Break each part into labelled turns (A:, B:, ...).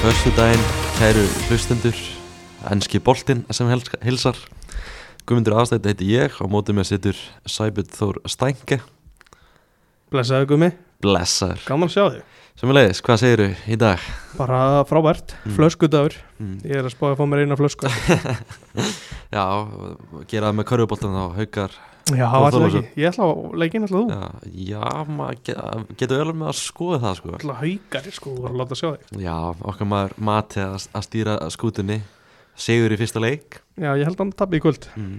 A: Föstudaginn, kæru hlustendur Enski boltinn sem helska- hilsar Guðmundur Aðstætt heiti ég og mótið mér situr Sæbjörn Þór Stænke
B: Blessaðu gummi,
A: Blessar
B: gaman að sjá þig
A: Sumulegis, hvað segiru í dag?
B: Bara frábært,
A: Mm.
B: flöskudagur
A: Mm.
B: Ég er að spáði að fá mér eina flösku
A: Já, gera það með körfuboltan þá haukar
B: Já,
A: Þú þolir
B: allir ekki, ég ætla að leggja inn allir þú
A: Já, já maður get, getur öllum með að skoða það sko
B: Allir haukari sko, þú voru að láta sjá þig
A: Já, okkar maður mati að, að stýra skútunni Sigur í fyrsta leik
B: Já, ég held að hann tappi í kvöld
A: mm.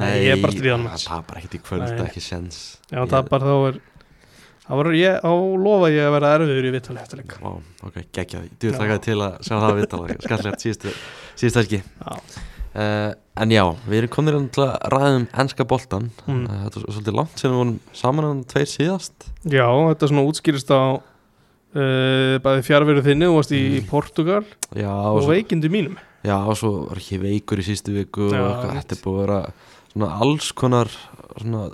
B: Nei, ég er bara
A: Það
B: stríðan með
A: tapar ekkert í kvöld,
B: Nei.
A: það er ekki sens
B: Já, hann tappar þá er Þá var ég, á lofa ég að vera erfiður í vittali eftir leik
A: Ó, ok, geggjað, þú
B: Já.
A: þakkaði til að sjá það viðtala, skallilegt síðustu, síðustu helgi
B: Já,
A: uh, En já, við erum komin hérna til að ræðum ennska boltan
B: Mm.
A: uh, Þetta er svolítið langt sem við vorum saman hann tveir síðast
B: Já þetta er svona útskýrist á uh, Bæði fjárveru þinni, þú varst í
A: Mm.
B: Portugal
A: Já,
B: Og
A: og svo,
B: veikindi mínum
A: já, og svo var ekki veikur í síðustu viku og
B: Já,
A: eitthvað,
B: mitt.
A: þetta er búið að vera svona alls konar svona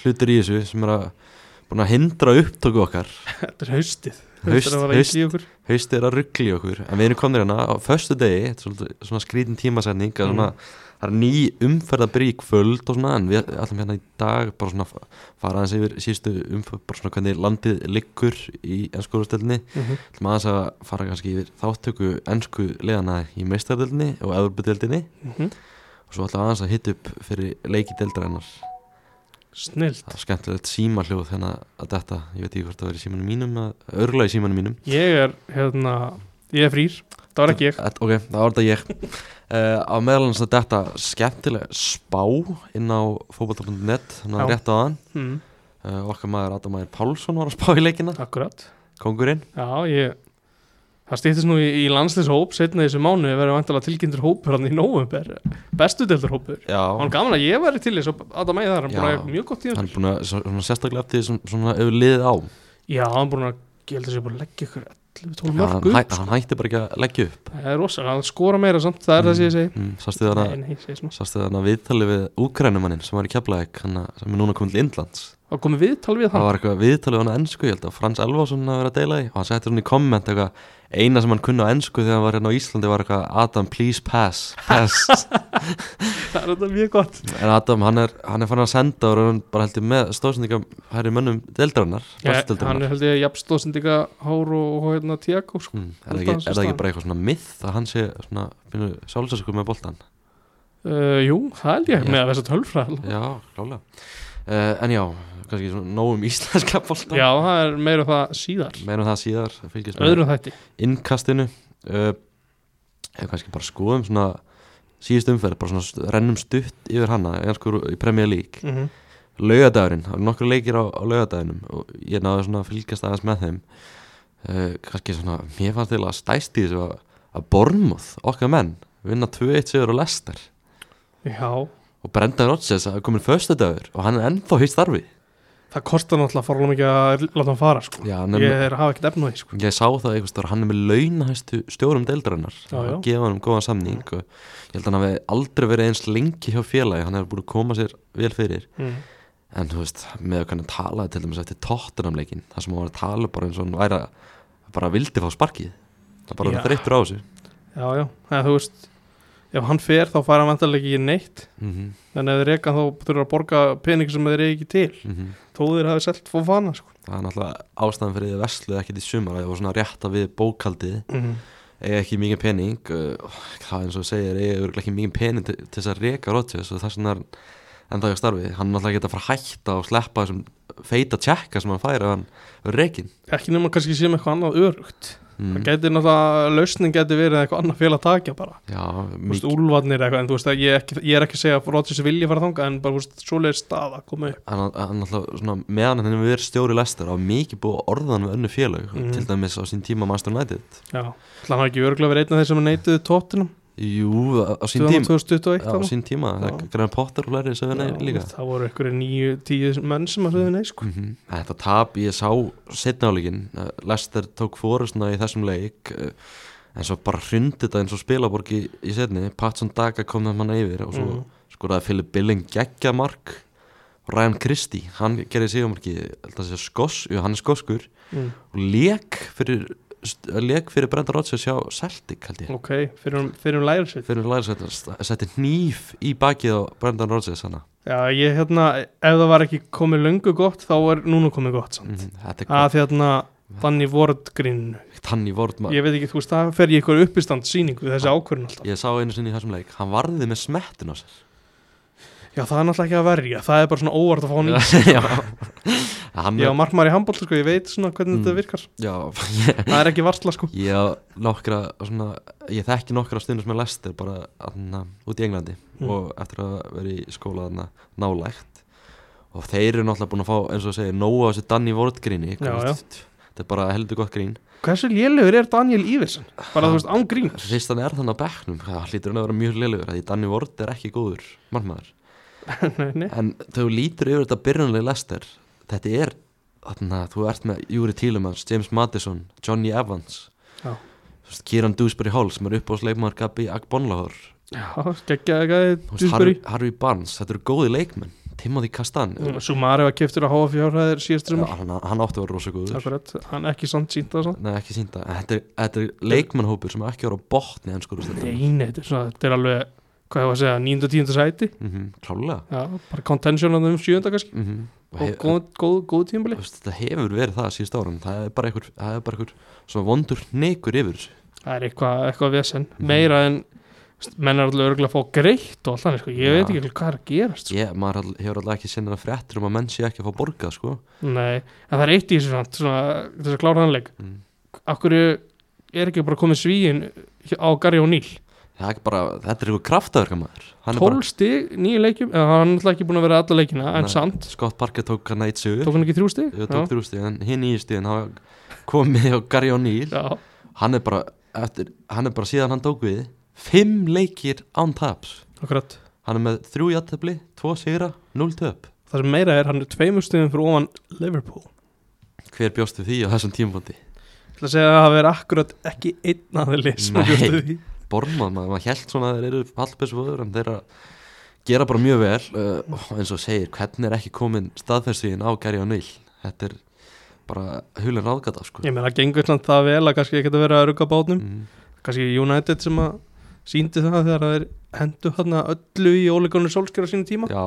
A: hlutir í þessu sem er að búin að hindra upptöku okkar
B: Þetta er haustið
A: Haust-
B: Haust, haust
A: haust. haust er að ruggli okkur en við erum komin hérna á föstu degi þetta er svolítið svona skrítin tímasetning að svona, það er ný umferð að byrja í kvöld og svona en við ætlum hérna í dag bara svona að fara aðeins yfir síðustu umferð bara svona hvernig landið liggur í ennskóðustelni
B: Mhm.
A: ætlum aðeins að fara kannski yfir þáttöku ennsku leðana í meistardelni og evrubudeldinni
B: Mhm.
A: og svo ætlum aðeins að hitta upp fyrir leiki deildarinnar
B: Snill
A: það er skemmtilegt símahljóð hérna að þetta ég veit ekki hvort það verið símanum mínum örgulega í símanum mínum
B: Ég er, hérna, ég er frýr Það var ekki ég
A: Þetta- Ok, það var þetta ég uh, Á meðalans að þetta skemmtileg spá inn á fótbolta.net þannig að
B: Já.
A: rétt á hann
B: mm.
A: uh, okkar maður Adamæður Pálsson var að spá í leikina
B: Akkurat
A: kongurinn
B: Já, ég Það stýttist nú í, í landsliðshóp setna þessu mánu verður vantilega tilkynntur hópur hann í nóvember bestu deildur hópur og hann
A: Já,
B: gaman að ég væri til þess og Adam Æði þar hann búin að
A: Já.
B: hafa mjög gott í
A: hann er
B: þessu
A: búin að svo- svona, sérstaklega eftir því sem svona hefur liðið á
B: Já, hann búin að ég held að þessi búin að leggja ykkur
A: hann,
B: 11-12 mörg
A: hæ,
B: upp
A: hann hætti bara ekki að leggja upp
B: Það er rosalega, hann skora meira samt það er það sem ég segi
A: mm, Sástu þarna
B: Nei, nei, ég segi svona
A: Sástu þarna viðtali við úkrænumanninn sem var í Keflavík hann að- sem er núna komið til Indlands
B: Það komið viðtal við
A: það
B: hann
A: var eitthvað viðtalið hann á ennsku ég held að Frans Elvason að vera að deila í og hann setti svona í komment eitthvað eina sem hann kunni á ennsku þegar hann var hérna á Íslandi var eitthvað Adam please pass, pass.
B: Það er þetta mjög gott
A: en Adam hann er, hann er fann að senda og hann bara heldur með stóðsendinga hærri mönnum deildarinnar
B: Já,
A: deildarinnar
B: Hann er held ég jafnstóðsendika Hár og, og hérna Tiago sko.
A: mm, er, það
B: Held að
A: ekki,
B: hann
A: er
B: sé
A: það
B: staðan.
A: ekki bara eitthvað svona myth að hann sé svona sálsasöku með boltan
B: uh, Jú, það held ég
A: Já.
B: með þess að tölfræðal
A: já klálega uh, en já kannski svona nóg um íslenska boltan
B: Já, það er meira um það síðar
A: meðan það síðar fylgjast með
B: Öðrum þætti
A: innkastinu uh, eða kannski bara skoðum svona síðust umferð, bara svona st- rennum stutt yfir hana, einskur í Premier League
B: mm -hmm.
A: laugadagurinn, það eru nokkru leikir á, á laugadagurinnum og ég náði svona að fylgjast aðeins með þeim uh, kannski svona, mér fannst til að stæst í þessu að, að Bormóð, okkar menn vinna 2-1 sigur og lester
B: Já,
A: og Brenda Rodgers að komin föstudagur og hann er ennþá í starfi
B: það kostar náttúrulega fórlega mikið að láta hann fara sko.
A: Já,
B: Ég
A: nefnum,
B: er að hafa ekkert efna því sko.
A: Ég sá það einhvers þar, hann er með launahæstu stjórum deildarinnar
B: Já,
A: að
B: já.
A: gefa hann um góðan samning og ég held að hann hafi aldrei verið eins lengi hjá félagi, hann hefur búin að koma sér vel fyrir
B: mm.
A: en þú veist, með að kannan talaði til dæmis eftir tóttunamleikin, það sem hann var að tala bara eins og hann væri að bara vildi fá sparkið það bara
B: Já.
A: var þreyttur á þessu
B: Já, já, það þú veist Ef hann fer þá fara hann vantarlega ekki í neitt
A: mm -hmm,
B: En ef þeir reka þá þurfa að borga pening sem þeir eiga ekki til Þó þeir hafi selt fóð fana sko.
A: mhm. það er náttúrulega ástæðan fyrir því að vesluð ekkert í sumar að það var svona rétt að við bókaldið
B: mm.
A: eiga ekki mikið pening uh, það eins og þú segir, eiga örugglega ekki mikið pening til, til þess að reka Rodgers og þess vegna er en það er starfi, hann er náttúrulega geta að fara að hætta og sleppa þessum feita tjekka sem hann fær ef hann verður rekin
B: Ekki nema kannski séum eitthvað annað örugt Það
A: mm.
B: gæti náttúrulega, lausnin gæti verið eitthvað annað fél að taka bara
A: Já,
B: Þú veist,
A: mikið
B: úlvarnir eitthvað En þú veist, að ég er ekki, ég er ekki að segja að Rodgers vilja fara þangað En bara, þú veist, svoleiðir staða komið upp
A: hann hann náttúrulega svona meðan hann hefur verið stjóri lestar og mikið búið að orða hann við önnu félög
B: Mhm.
A: til dæmis á sín tíma Master United
B: Já, þannig að hann ekki örgulega verið einn af þeir sem neituðu tóttinum
A: Jú, á á sín
B: um
A: tíma
B: 2021
A: á sín tíma,
B: Já.
A: Graham Potter og lærið sem hann líka
B: það voru einhverju nýju, tíu menn sem að sögðu nei sko.
A: Mm -hmm. Þetta tap ég sá setna áleikin Lester tók fórustna í þessum leik eh, en svo bara hrundi þetta eins og spilaborgi í setni Patson Daga kom það manna yfir og svo
B: Mhm.
A: skoraði Philip Billing geggja mark og Ryan Christie, hann gerði sigumarki skoss, jú, hann er skoskur
B: mm.
A: og lék fyrir leik fyrir Brenda Rodgers hjá Celtic held ég
B: ok, fyrir um, fyrir um læra sér
A: fyrir læra setti, setti nýf í bakið á Brenda Rodgers hana
B: já, ég hérna, ef það var ekki komið löngu gott, þá er núna komið gott samt.
A: mm, þetta er
B: að hérna, þannig vortgrinn
A: hvað hann í vort maður
B: ég veit ekki, þú veist, það fer ég eitthvað uppistand síningu við þessi ákvörðin alltaf
A: ég sá einu sinni í þessum leik hann varði með smettun á sér
B: já, það er náttúrulega ekki að verja, það er bara svona óvart að fá hann í
A: já, hann,
B: ég á markmaður í handbólta, sko, ég veit svona hvernig
A: Mm.
B: þetta virkar
A: já,
B: það er ekki varsla, sko
A: Ég á nokkra svona, ég þekki nokkra stundur sem er lestir bara aðna, út í Englandi
B: Mm.
A: og eftir að vera í skóla aðna, nálægt og þeir eru náttúrulega búin að fá eins og að segja nóa á þessu Danny Ward gríni
B: Já, já.
A: þetta er bara heldur gott grín
B: hversu lélugur er Daniel Iversen? bara, þú veist, án grín
A: Ristan er þannig á bekknum, það hlýtur hann að vera mjög leilugur því Danny Ward er ekki góður mannmaður
B: Nei, nei.
A: en þú lítur yfir þetta byrjunlega lestir þetta er, þarna, þú ert með Júri Tílemans, James Madison, Johnny Evans
B: Já.
A: Þú veist, Kieran Dewsbury Hall sem er upp á sleikmaður Gabi Agbonlahor
B: já, geggjaði gæði
A: Þú veist,
B: Djúsberi
A: Harvey, Harvey Barnes, þetta eru góði leikmenn Timothy Kastan mm.
B: Sumari var keftur að háa fjárhæðir síðast sumar
A: hann, hann átti að vera rosa góður
B: Akkurat, hann ekki samt sínt það samt
A: Nei, ekki sínda, þetta er, þetta er leikmannhópur sem ekki voru á botni en skorust þetta
B: Nei, nei, þetta er svona, þetta er alveg hvað ég var að segja, 9. og 10. sæti
A: mm -hmm, Klálega
B: já, bara contention á þeim 7. kannski
A: mm -hmm.
B: og góð, góð, góð tímabili
A: Þetta hefur verið það síðust árum Það er bara einhver, það er bara einhver svona vondur neikur yfir þessu.
B: það er eitthvað, eitthvað vesen
A: Mhm.
B: meira en veist, menn er alltaf örgulega að fá greitt og allt þannig, sko. ég
A: Já.
B: veit ekki hvað er að gerast sko.
A: Ég, maður all, hefur alltaf ekki sinnað fréttur um að menn sé ekki að fá borgað sko.
B: nei, en það er eitt í þessu samt svona, þess að klára þannleik
A: mm.
B: akkur er ekki bara komið svíin á Gary og Níl
A: Það er ekki bara, þetta er einhver kraftaverka maður Hann er
B: 12 stig, nýju leikjum, eða hann er alltaf ekki búin að vera alla leikina, en
A: Nei.
B: samt
A: bara, Scott Parker tók hann eitt sigur
B: tók hann ekki þrjú stig
A: Ég tók þrjú stíð, en hinn í stíðin komið á Gary O'Neill
B: já,
A: hann er bara, eftir, hann er bara síðan hann tók við fimm leikir án taps
B: akkurat
A: hann er með þrjú játtöfli, tvo sigra, núl töp
B: það sem meira er, hann er tveimur stigum fyrir ofan Liverpool
A: hver bjóstu því á þessum tímfondi
B: Það að segja að það verið akkurat ekki einn aðli sem
A: Nei.
B: bjóst við því
A: Bormað, maður, maður held svona að þeir eru fallbessfóður en þeir að gera bara mjög vel uh, og eins og segir, hvernig er ekki komin staðferðsvíðin á Gary O'Neill þetta er bara hulun ráðgata sko.
B: Ég meina, það gengur samt það vel að kannski ekki að vera að rugga bátnum
A: mm,
B: Kannski United sem að síndi það þegar þeir hendu þarna öllu í óleikonu sólskjara sínu tíma
A: já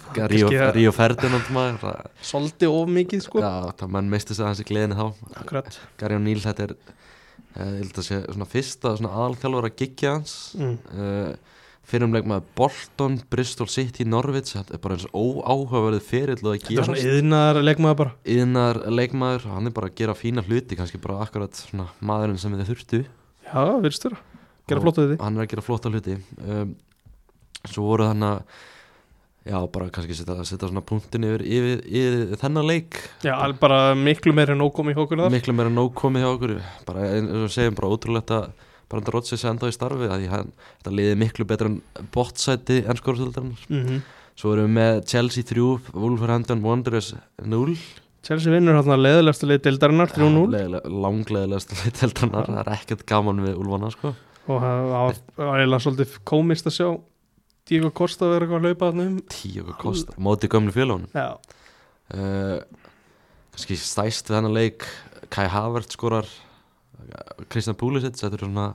B: Það er
A: Ríó,
B: kannski að- Sko.
A: Ríó Ferdinand maður það-
B: Soldi of mikið, sko
A: já, það menn misti sig aðeins í gleðinni þá
B: Akkurat
A: Gary O'Neill þetta er eh, ég held að sé svona fyrsta svona aðalþjálfara giggja hans
B: mm.
A: uh, fyrirumleik með Bolton, Bristol City, Norwich þetta er bara eins óáhugaverðið fyrirl og það
B: Þetta er svona
A: gerast
B: yðnaðar leikmaður bara
A: yðnar leikmaður, hann er bara að gera fína hluti kannski bara akkurat svona maðurinn sem þið þurftu
B: Já, virðist þurra Gera
A: Og
B: flott að því
A: hann er að gera flotta hluti um, svo voru þann að já bara kannski setja, setja svona punktin yfir, yfir, yfir þennan leik
B: Já, al- bara miklu meiri en ókomi hjá okkur þar
A: miklu meira nóg komið hjá okkur bara eins og við segjum bara ótrúlegt að Brandar Rodgers er enda í starfi að því hann, þetta liði miklu betur en bottsæti en skorðsöldarnar
B: mm
A: svo erum við með Chelsea 3, Wolverhampton Wanderers 0
B: Chelsea vinnur þarna leðilegstu leið deildarinnar 3-0
A: Leiðilega- langleiðilegast leiteldarnar það er ekkert gaman við Ulfana sko
B: og það var- það var eiginlega svolítið komist að sjá Diego Costa vera eitthvað að hlaupa þarna um
A: 10 okkur kosta, móti gömlu félaginu
B: Já,
A: uh, kannski stæst við hennar leik Kai Havert skorar Kristjan Púlisic, þetta eru svona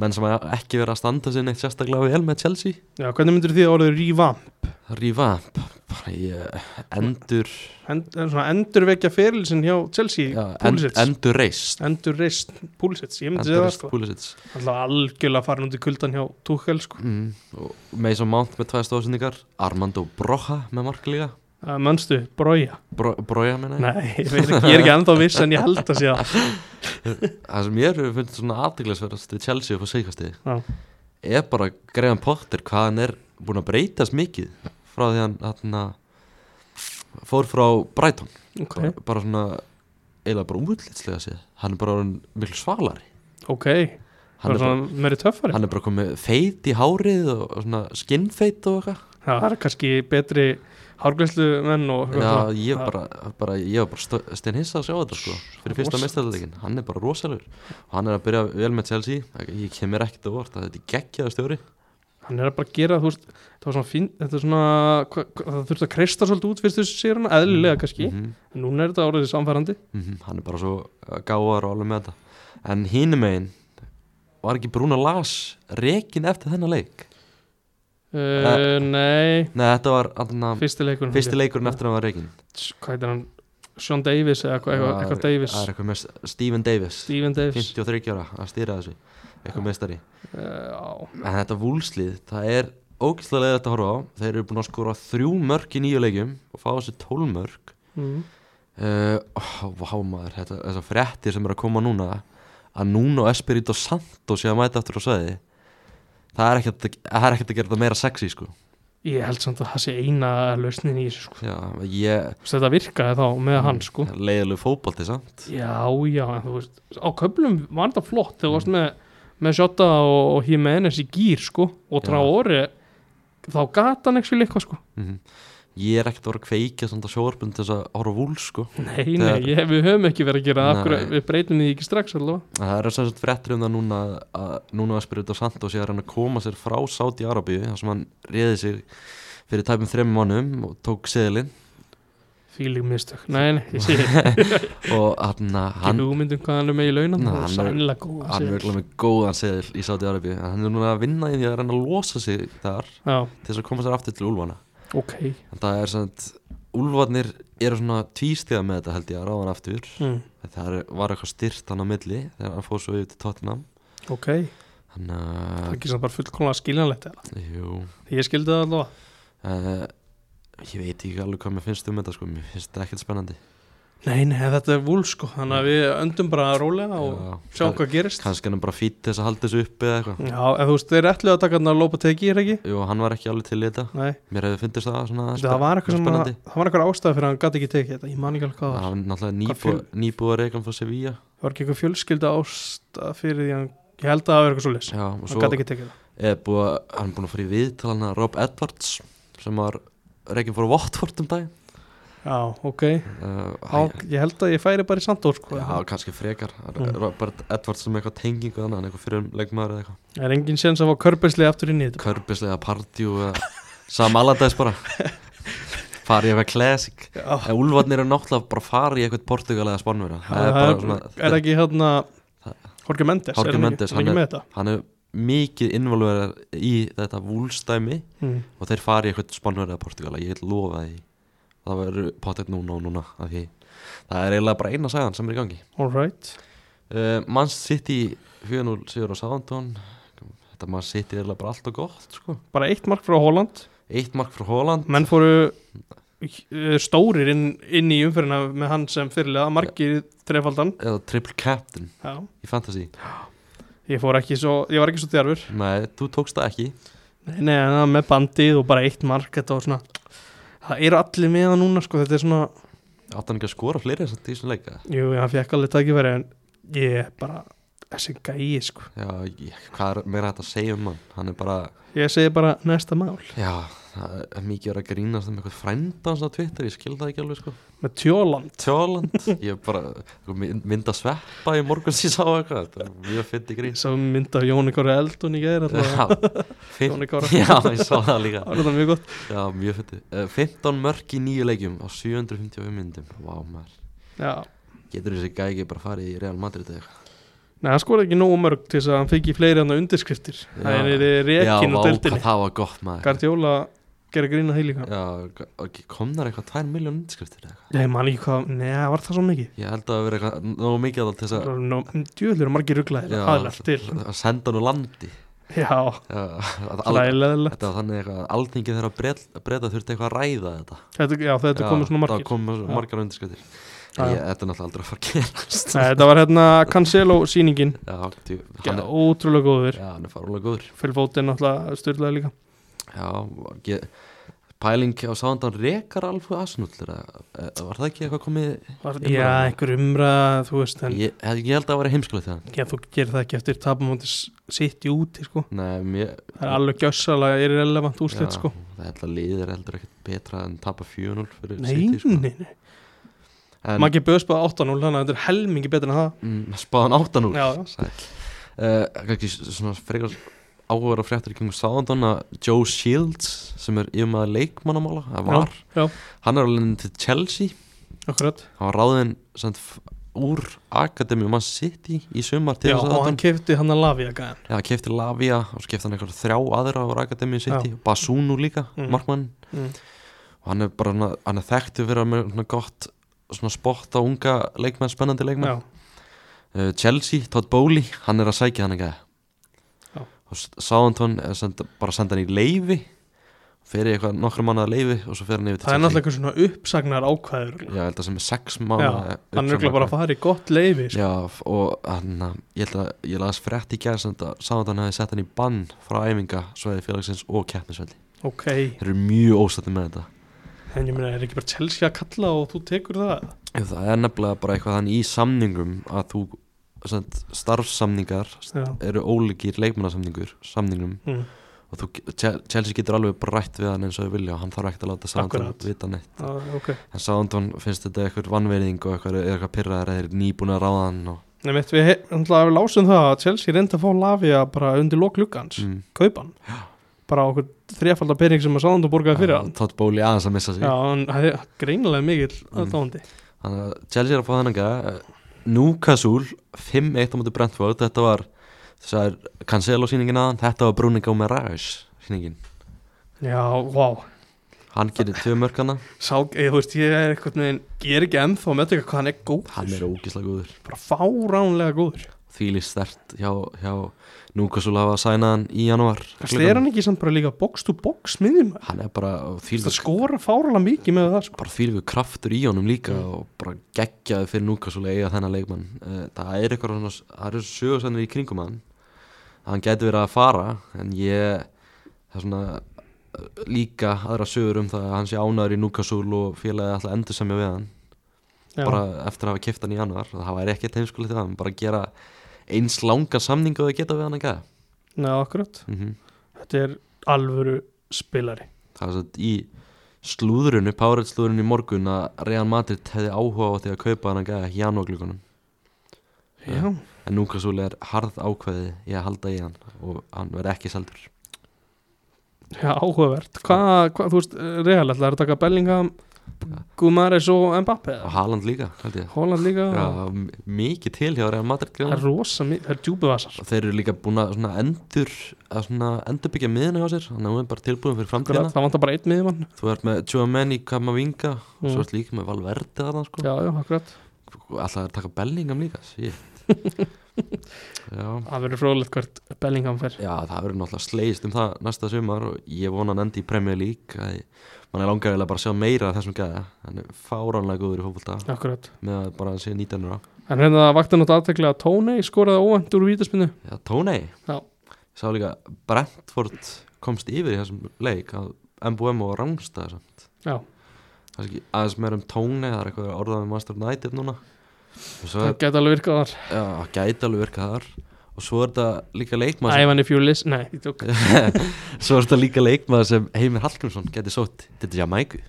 A: menn sem hafa ekki verið að standa sinni sérstaklega vel með Chelsea
B: Já, hvernig myndir því að orðið revamp?
A: Revamp bara ég endur
B: End, eh, svona endurvekja ferilsinn hjá Chelsea
A: já, end,
B: Púlisits end,
A: endur reist
B: Endur reist Púlisits, ég myndi
A: endur
B: segja það
A: reist
B: sko
A: Púlisits
B: Alltaf algjörlega farin út í kuldan hjá Tuchel sko
A: mm, og Mason Mount með tvæða stóðsendingar Armando Broja með marklíka
B: uh, Mönstu, brója
A: Bro, Broja meina ég
B: Nei, ég, veit ekki, ég er ekki ennþá viss en ég held að sé það
A: það sem ég hefur fundið svona aðdeglisverðast við Chelsea upp á seikastegi
B: Já.
A: er bara Graham Potter hvað hann er búin að breytast mikið frá því hann þarna, fór frá Brighton
B: Ok,
A: bara, bara svona eiginlega bara útlitslega séð hann er bara orðinn miklu svalari
B: ok
A: hann
B: Það
A: er,
B: er
A: bara,
B: svona meiri töffari
A: hann er bara komið feit í hárið og, og svona skinnfeit og eitthvað
B: Það er kannski betri hárglæslu menn og
A: Já, ég
B: það-
A: bara, bara, ég var bara stein hissa að sjá þetta sko fyrir fyrsta
B: Rosalegt.
A: mestarleikin, hann er bara rosalegur og hann er að byrja vel með Chelsea ég kemur ekkert á vort að þetta er geggjaðu stjóri
B: Hann er að bara gera, þú veist Það var svona fín, þetta er svona hva, hva, Það þurfti að kreista svolítið út fyrst þessu séruna Eðlilega kannski,
A: Mhm,
B: en núna er þetta orðið samfærandi
A: mhm, hann er bara svo gáðar uh, og alveg með þetta en hinum einn var ekki Bruna Lars rekin eftir þennan leik
B: uh, Nei,
A: Nei, þetta var anna,
B: fyrsti leikurinn
A: fyrsti leikurinn eftir að hann var rekin
B: Tss, Hvað heitir hann? Sean Davis eða eitthvað, eitthvað, eitthvað Davis
A: Það er eitthvað með Steven Davis
B: Steven Davis
A: 53 ára að stýra þessu eitthvað meistari
B: uh, Já,
A: en þetta vúlslið, það er ógæslega leið að horfa á, þeir eru búin að skora þrjú mörk í nýju leikjum og fá þessi tólmörk
B: mm.
A: uh, ó, vá maður, þetta, þessar frettir sem eru að koma núna að núna og Espirito Santo sé að mæta aftur á sæði það er ekkert að- það er ekkert að gera þetta meira sexy sko
B: Ég held samt að það sé eina lausnin í þessu sko.
A: Já, ég,
B: Þú veist, Þetta virkaði þá
A: Mm,
B: með hann sko
A: leiðilegu fótbolti samt
B: Já, já, en þú veist Á köflum var þetta flott þegar þú
A: Mm.
B: varst með, með Sjóta og, og Jimenez í gýr sko og
A: Já.
B: Traore þá gata hann ekki eitthvað sko
A: Mhm. ég er ekkert að vera að kveikja samt á sjóarbund til þess að horfa á vúl sko
B: Nei,
A: Þegar-
B: nei, ég, við höfum ekki verið að gera það, af hverju-
A: Nei.
B: við breytum því ekki strax allavega
A: En Það eru sem sagt frettir um það núna að núna að Spirito Santo sé að reyna að koma sér frá Sáti Arabíu þar sem hann réði sig fyrir tæpum þremmu mánum og tók seðilinn
B: Fílig mistök, nei, nei, ég sé ekki
A: og hann, hann,
B: hugmyndum hvað hann er með í launan
A: Nei,
B: Það er
A: hann er-
B: sannlega góð
A: hann er örugglega með góðan seðil í Sáti Arabíu en hann er núna að vinna í því að reyna að losa sig þar
B: Já,
A: til þess að koma sér aftur til Úlfana
B: ok
A: en það er sem sagt Úlfarnir eru svona tvístiða með þetta held ég að ráðan aftur
B: mm.
A: það er- var eitthvað styrt hann á milli þegar hann fór svo yfir til Tottenham
B: Ok, það
A: þannig
B: er ekki sem bara fullkomlega skiljanlegt eða?
A: að jú
B: Ég skildi það allavega
A: Uh, ég veit ekki alveg hvað mér finnst um þetta sko, mér finnst þetta ekkert spennandi
B: Nei, nei, þetta er vúl sko Þannig að við öndum bara rólega og
A: Já,
B: sjáum hvað gerist
A: kannski hann er bara fýtt þess að halda þessu uppi eða eitthvað
B: Já, en þú veist, þeir ætluðu að taka hann að lópa teki, er ekki?
A: Jú, hann var ekki alveg til í þetta
B: Nei,
A: Mér hefði fyndist það svona
B: það var eitthvað sem að,
A: spennandi
B: það var eitthvað ástæða fyrir að hann gæti ekki tekið þetta, ég man ekki alveg hvað
A: Það
B: það var.
A: var náttúrulega nýbú,
B: fjöl-
A: nýbúið reikan frá Sevilla
B: Það var ekki eitthvað fjölskylda ástæða fyrir því að hann, ég held að það var eitthvað svo
A: Já, og
B: hann
A: svo
B: gæti ekki tekið það.
A: er búið að, hann er búin að fara í viðtalan að Rob Edwards sem var reikin frá Watford um dag
B: Já, ok,
A: uh,
B: Há, ég held að ég færi bara í Sandór sko.
A: Já, kannski frekar
B: Mm.
A: Robert Edwards sem eitthvað tengingu þannig, hann er eitthvað fyrir leikmaður eða eitthvað
B: Það er engin séns að fá körbeinslega aftur inn í þetta.
A: Körbislega partjú Sam Allardyce bara Farið eitthvað classic
B: Já,
A: En Úlfarnir eru náttúrulega bara að fara í eitthvað Portugal eða Spánverja Það er bara svona
B: er það ekki hérna, Jorge Mendes,
A: Jorge
B: er hann
A: Mendes,
B: ekki, hann er
A: hann
B: ekki með þetta?
A: Hann er mikið involverðar í þetta vúlstæmi
B: Mm.
A: og þeir fara í eitthvað Spánverja eða Portugal ég get lofa því Það verður pottet núna og núna af því Það er eiginlega bara eina sæðan sem er í gangi
B: All right.
A: uh, Man City 4-0 sigur á Southampton Þetta Man City er eiginlega bara allt og gott sko.
B: Bara eitt mark frá Holland,
A: Eitt mark frá Holland
B: menn fóru eh, stórir inn, inn í umferðina með hann sem fyrirlega, margir trefaldan
A: eða triple captain
B: já.
A: í fantasy
B: ég fór ekki svo, ég var ekki svo djarfur
A: Nei, þú tókst það ekki
B: nei, nei, en það með bandið og bara eitt mark þetta var svona, það eru allir með það núna sko, þetta er svona,
A: Átti hann ekki að skora fleiri samt í þessum leika
B: jú, hann fekk alveg tækifæri en ég er bara, þessi gæi sko,
A: Já, ég, hvað er meira hægt að segja um hann? Hann er bara,
B: ég segi bara næsta mál
A: já, það er mikið verið að grínast um eitthvað frænda hans á Twitter, ég skil það ekki alveg sko.
B: með tjóland
A: Tjóland, ég er bara eitthvað mynd- mynd að sveppa í morgun sem ég sá eitthvað, þetta er mjög fyndi
B: ég
A: grín.
B: sá mynd af Jóni Kára Eldun í gæðir það
A: Já, finn,
B: Jóni Kára.
A: já, ég sá það líka.
B: var þetta mjög gott
A: Já, mjög fyndi. Eh, 15 mörg í nýju leikjum á 755 myndum, vá maður.
B: já.
A: Getur þessi gægi bara farið í Real Madrid eða eitthvað?
B: Nei, hann skoraði ekki nógu mörg til þess að hann fengi fleiri hann undirskriftir það
A: Já.
B: er reikin
A: vá,
B: og
A: hvað
B: deltinni
A: það var gott maður.
B: Gardiola gera grína því líka
A: Já, ok, kom þar eitthvað 2 miljón undirskriftir eða eitthvað?
B: Nei, man ekki hvað, neða, var það svo mikið
A: Ég held að það hafi verið eitthvað nógu mikið að þess að
B: Djúðlega eru margir rugglaðir
A: Já.
B: aðlært til
A: að senda hann úr landi
B: Já,
A: Já, að al-
B: hlæðilega
A: þetta var þannig eitthvað að alþingi þeirra breyta, breyta þurfti eitthvað að ræða þetta
B: þetta, Já, þetta komið svona margir
A: það komu
B: Já.
A: svona margar undirskriftir
B: Já, já.
A: Ég- þetta er náttúrulega aldrei að fara að gerast
B: Nei, Þetta var hérna Cancelo sýningin
A: já, djú,
B: Já,
A: hann, er,
B: Ótrúlega góður
A: já, hann er farulega góður
B: Fyrir fótinn náttúrulega styrlaði líka
A: já, ég, pæling á sáðan rekar alveg aðsnullir var það ekki eitthvað komið
B: var,
A: Umræða.
B: Já, einhver umræða, þú veist en,
A: ég, ég held að það væri heimskulegt þegar
B: já, Þú gerir það ekki eftir tapamóti sitt í úti sko.
A: Nei, mér,
B: Það er alveg gjössalega irrelevant úrslit
A: já,
B: sko.
A: það held að liðir heldur ekkert betra en tapa 4-0 fyrir
B: Nei,
A: City, sko.
B: nei, nei
A: En-
B: Maggi Böðs bara 8-0 Þannig að þetta er helmingi betur en það
A: Mm, spáðan 8-0
B: Já, já.
A: Sæll. Eh, kannski s- svona frekar áhugaður á fréttur í kringum sáðandón að Joe Shields sem er yfirmaður leikmannamála það var,
B: Já,
A: hann er alveg til Chelsea
B: akkurat
A: hann var ráðinn sem, úr Akademi Man City í sumar til
B: Já,
A: þess að
B: og hann kefti hann að lafja gæðan
A: Já, kefti Lavia og svo kefti hann eitthvað þrjá aðra á Akademi City, Basunu líka
B: Mm.
A: markmann,
B: mm.
A: og hann er bara svona- hann er þekktu fyrir að vera með svona gott svona spott á unga leikmenn, spennandi leikmenn
B: Já,
A: uh, Chelsea, Todd Bowley, hann er að sækja hann eitthvað
B: Já.
A: og Sáðantón er send, bara að senda hann í leifi fyrir eitthvað nokkra mannað leifi og svo fer hann yfir til
B: það er náttúrulega eitthvað svona uppsagnar ákvæður
A: Já, ég held að sem er sex
B: Já,
A: mánuð
B: hann er örugglega bara að fara í gott leifi sko.
A: Já, og hann, eh, ég held að ég las frétt í gæð sem þetta Sáðantón hefði sett hann í bann frá æfinga sveiði félagsins og keppnisvelli
B: ok,
A: Þeir eru mjög óstætti með þetta
B: en ég meina er ekki bara Chelsea að kalla og þú tekur það
A: Ef Það er nefnilega bara eitthvað þannig í samningum að þú send, starfsamningar
B: já,
A: eru ólíkir leikmannasamningur samningum
B: mm.
A: og þú, Chel- Chelsea getur alveg bara rætt við hann eins og þau vilja og hann þarf ekkert að láta Sándón
B: Akkurat.
A: vita neitt
B: já, ok
A: en Sándón finnst þetta eitthvað vannverðing og eitthvað, er eitthvað pyrraðar eða er nýbúin að ráða hann og,
B: Nei, mitt, við, he- náttúrulega við lásum það að Chelsea reyndi að fá Lavia bara undir loklukkans, mm.
A: mm,
B: kaupan bara á okkur þrefaldar pening sem að sáðan þú borgaði fyrir hann
A: tótt bóli aðeins að missa sig
B: Já, hann hefði greinilega mikill
A: Mm.
B: aðdáandi
A: þannig að Chelsea er að fá þennan gæða Núkasúl 5-1 á mútið Brentford þetta var þessar Cancelo sýningin aðan þetta var Bruni Gómez sýningin
B: Já, vá,
A: hann gerir tvö mörkana
B: sá, ég, þú veist, ég er eitthvað neginn, ég er ekki ennþá að með þetta hvað hann er góður
A: hann er ógislega góður
B: bara fáránlega góður
A: þýli stert hjá, hjá Núkasúl hafa sænað hann í janúar
B: Kannski er hann ekki samt bara líka box to box miðjum
A: hann er bara
B: Það
A: þýli
B: skora fáránlega mikið með það sko.
A: bara fyrir við kraftur í honum líka
B: Mm.
A: og bara geggjaði fyrir núkasúlega eiga þennan leikmann Eh, það er eitthvað svona, það eru sögursennir í kringum hann hann gæti verið að fara en ég það er svona eh, líka aðra sögur um það að hann sé ánæður í núkasúl og félagi alltaf endur semja við hann
B: Já.
A: bara eftir að hafa kipt hann í januar það væri ekkert heimskulegt við hann, bara gera eins langa samning og það geta við hann að gæða
B: Nei, akkurat,
A: mm
B: þetta er alvöru spilari
A: það er svona í slúðrunu, párið slúðrunu í morgun að Real Madrid hefði áhuga á því að kaupa hann að gæða janúarglökunum Já.
B: Já,
A: Eh, en Núkasúl er harð ákveði í að halda í hann og hann verði ekki seldur
B: Já, áhugavert. Hvað, hva, þú veist, real, ætlaði að taka Bellingham, Gumares og Mbappe?
A: og Haaland líka, held ég
B: Holland líka?
A: Ah. Já, m- mikið til hjá Real Madrid
B: Það er
A: greinlega.
B: rosa mikið, það er djúbuvasar.
A: og þeir eru líka búin að svona endur að svona endurbyggja miðina hjá sér þannig að hún er bara tilbúin fyrir
B: Það
A: framtíðina
B: vantar bara einn miðjumann.
A: þú ert með Tjóamenni, Kamavinga og
B: Mm.
A: svo ert líka með Valverde þarna sko
B: Já, já, akkurat.
A: alltaf er að taka Bellingham líka shit. já
B: Það verður fróðlegt hvert Bellingham fer.
A: Já, það verður náttúrulega slegist um það næsta sumar og ég vona hann endi í Premier League að mann er langar eiginlega bara að sjá meira af þessum gæða, hann er fáránlega góður í fótbolta
B: Akkurat.
A: með að bara hann sé 19 ára
B: En hérna vakti nátt aðteklega að Tónei skoraði óvænt úr vítaspinnu.
A: Já, Tónei,
B: Já.
A: Ég sá líka Brentford komst yfir í þessum leik að MBM og Rangsta samt
B: Já.
A: Kannski aðeins meira um Tónei, það er eitthvað orðað með Master United núna og svo
B: Það
A: er,
B: gæti alveg virkað þar.
A: já, gæti alveg virkað þar og svo er þetta líka leikmaður sem-
B: Ævan if you listen. Nei, ég tjók.
A: svo er þetta líka leikmaður sem Heimir Hallgrímsson gæti sótt til Jamaiku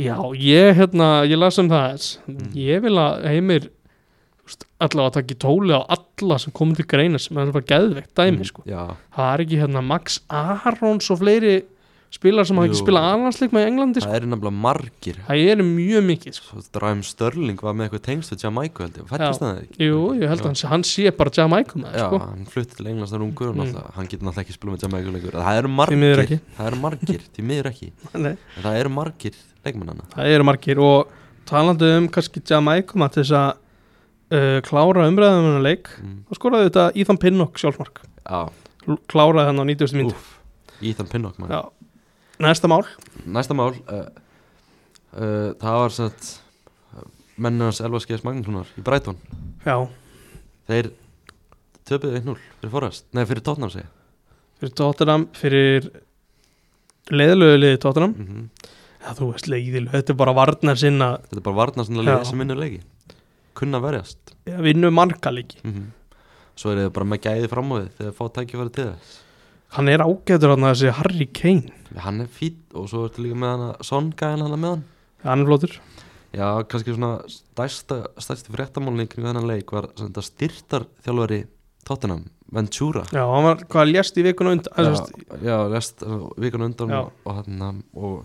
B: Já, ég, hérna, ég las um það þess.
A: Mm.
B: Ég vil að heimir þú veist, allavega taki tóli á alla sem komið til greina sem er bara geðveikt
A: Mm.
B: dæmi, sko.
A: Já,
B: það er ekki hérna Max Arons og fleiri spilar sem hafa ekki
A: Jú.
B: spilað annarsleik með Englandi sko.
A: það eru nefnilega margir
B: það er mjög mikið sko.
A: Svo Dræm Störling var með eitthvað tengst við Jamaica held ég, fættist það ekki
B: jú, ég held að hann, sé- hann sé bara Jamaica með
A: Já,
B: sko.
A: hann flutti til Englands þar ungur og
B: Mm.
A: náttúrulega, hann getur náttúrulega ekki spilað með Jamaica leikur Það eru
B: Því miður
A: margir,
B: ekki.
A: það eru margir, því miður ekki
B: Nei,
A: En það eru margir leikmennana
B: það eru margir og talandi um kannski Jamaica með til þess að uh, klára umræðum hennar leik
A: mm.
B: þá skoraði þetta Íþan Pinnock sjálfsmark
A: Já,
B: L- kláraði hann á 90. mínu
A: úff, Ethan Pinnock maður
B: næsta mál
A: Næsta mál uh, uh, Það var sem sagt eh, mennunars Elva Skeiðs Magnússonar í Brighton
B: já,
A: Þeir töpuðu 1-0 fyrir Forrest, nei fyrir Tottenham segja
B: fyrir Tottenham fyrir leiðilegu liði Tottenham
A: mm
B: já, þú veist leiðilegu, þetta er bara varnar sinna
A: Þetta er bara varnarsynlega
B: Já.
A: liðið sem vinnur leiki Kunna að verjast
B: vinnu marga leiki
A: -hmm. Svo eru þið bara með gæði fram á þið þegar þið fá tækifæri til þess
B: Hann er ágætur hann að þessi Harry Kane
A: Hann er fýtt og svo ertu líka með hann að Son gæðan hann með hann
B: Hann er flottur
A: Já, kannski svona stærsta, stærsti fréttamálni kring þennan leik var sem þetta styrtar þjálfari Tottenham, Ventura
B: Já, hann var hvað lést í vikuna undan
A: Já,
B: ja.
A: já, lest vikun undan
B: Já.
A: og, og, þarna- og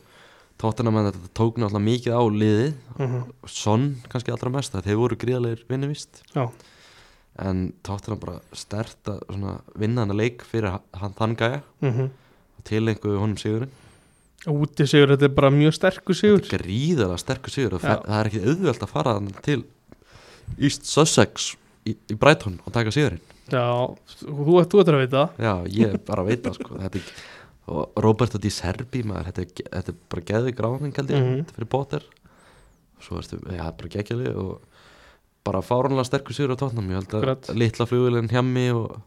A: Tottenham en þetta tók náttúrulega mikið á liðið
B: Mhm.
A: Son kannski allra mest að þeir voru gríðarleir vinnuvist
B: Já.
A: en Tottenham bara stert að svona, vinna hann að leik fyrir ha- hann þann gæja
B: Mhm.
A: og tilengu honum sigurinn
B: Úti sigur, þetta er bara mjög sterkur sigur
A: Þetta er gríðarlega sterkur sigur það,
B: Já.
A: það er ekki auðvelt að fara þarna til East Sussex í, í Brighton og taka sigurinn
B: Já, þú ert, þú ert að vita
A: já, ég bara veit það sko þetta er, og Roberto Di Serbi maður, þetta, er, ge- þetta er bara geðu gráning held ég
B: Mhm.
A: þetta er fyrir Potter svo erstu, já, bara geggjali og bara fárunlega sterkur sigur á tóknum ég held að
B: Akkurat.
A: litla flugulinn hjemmi og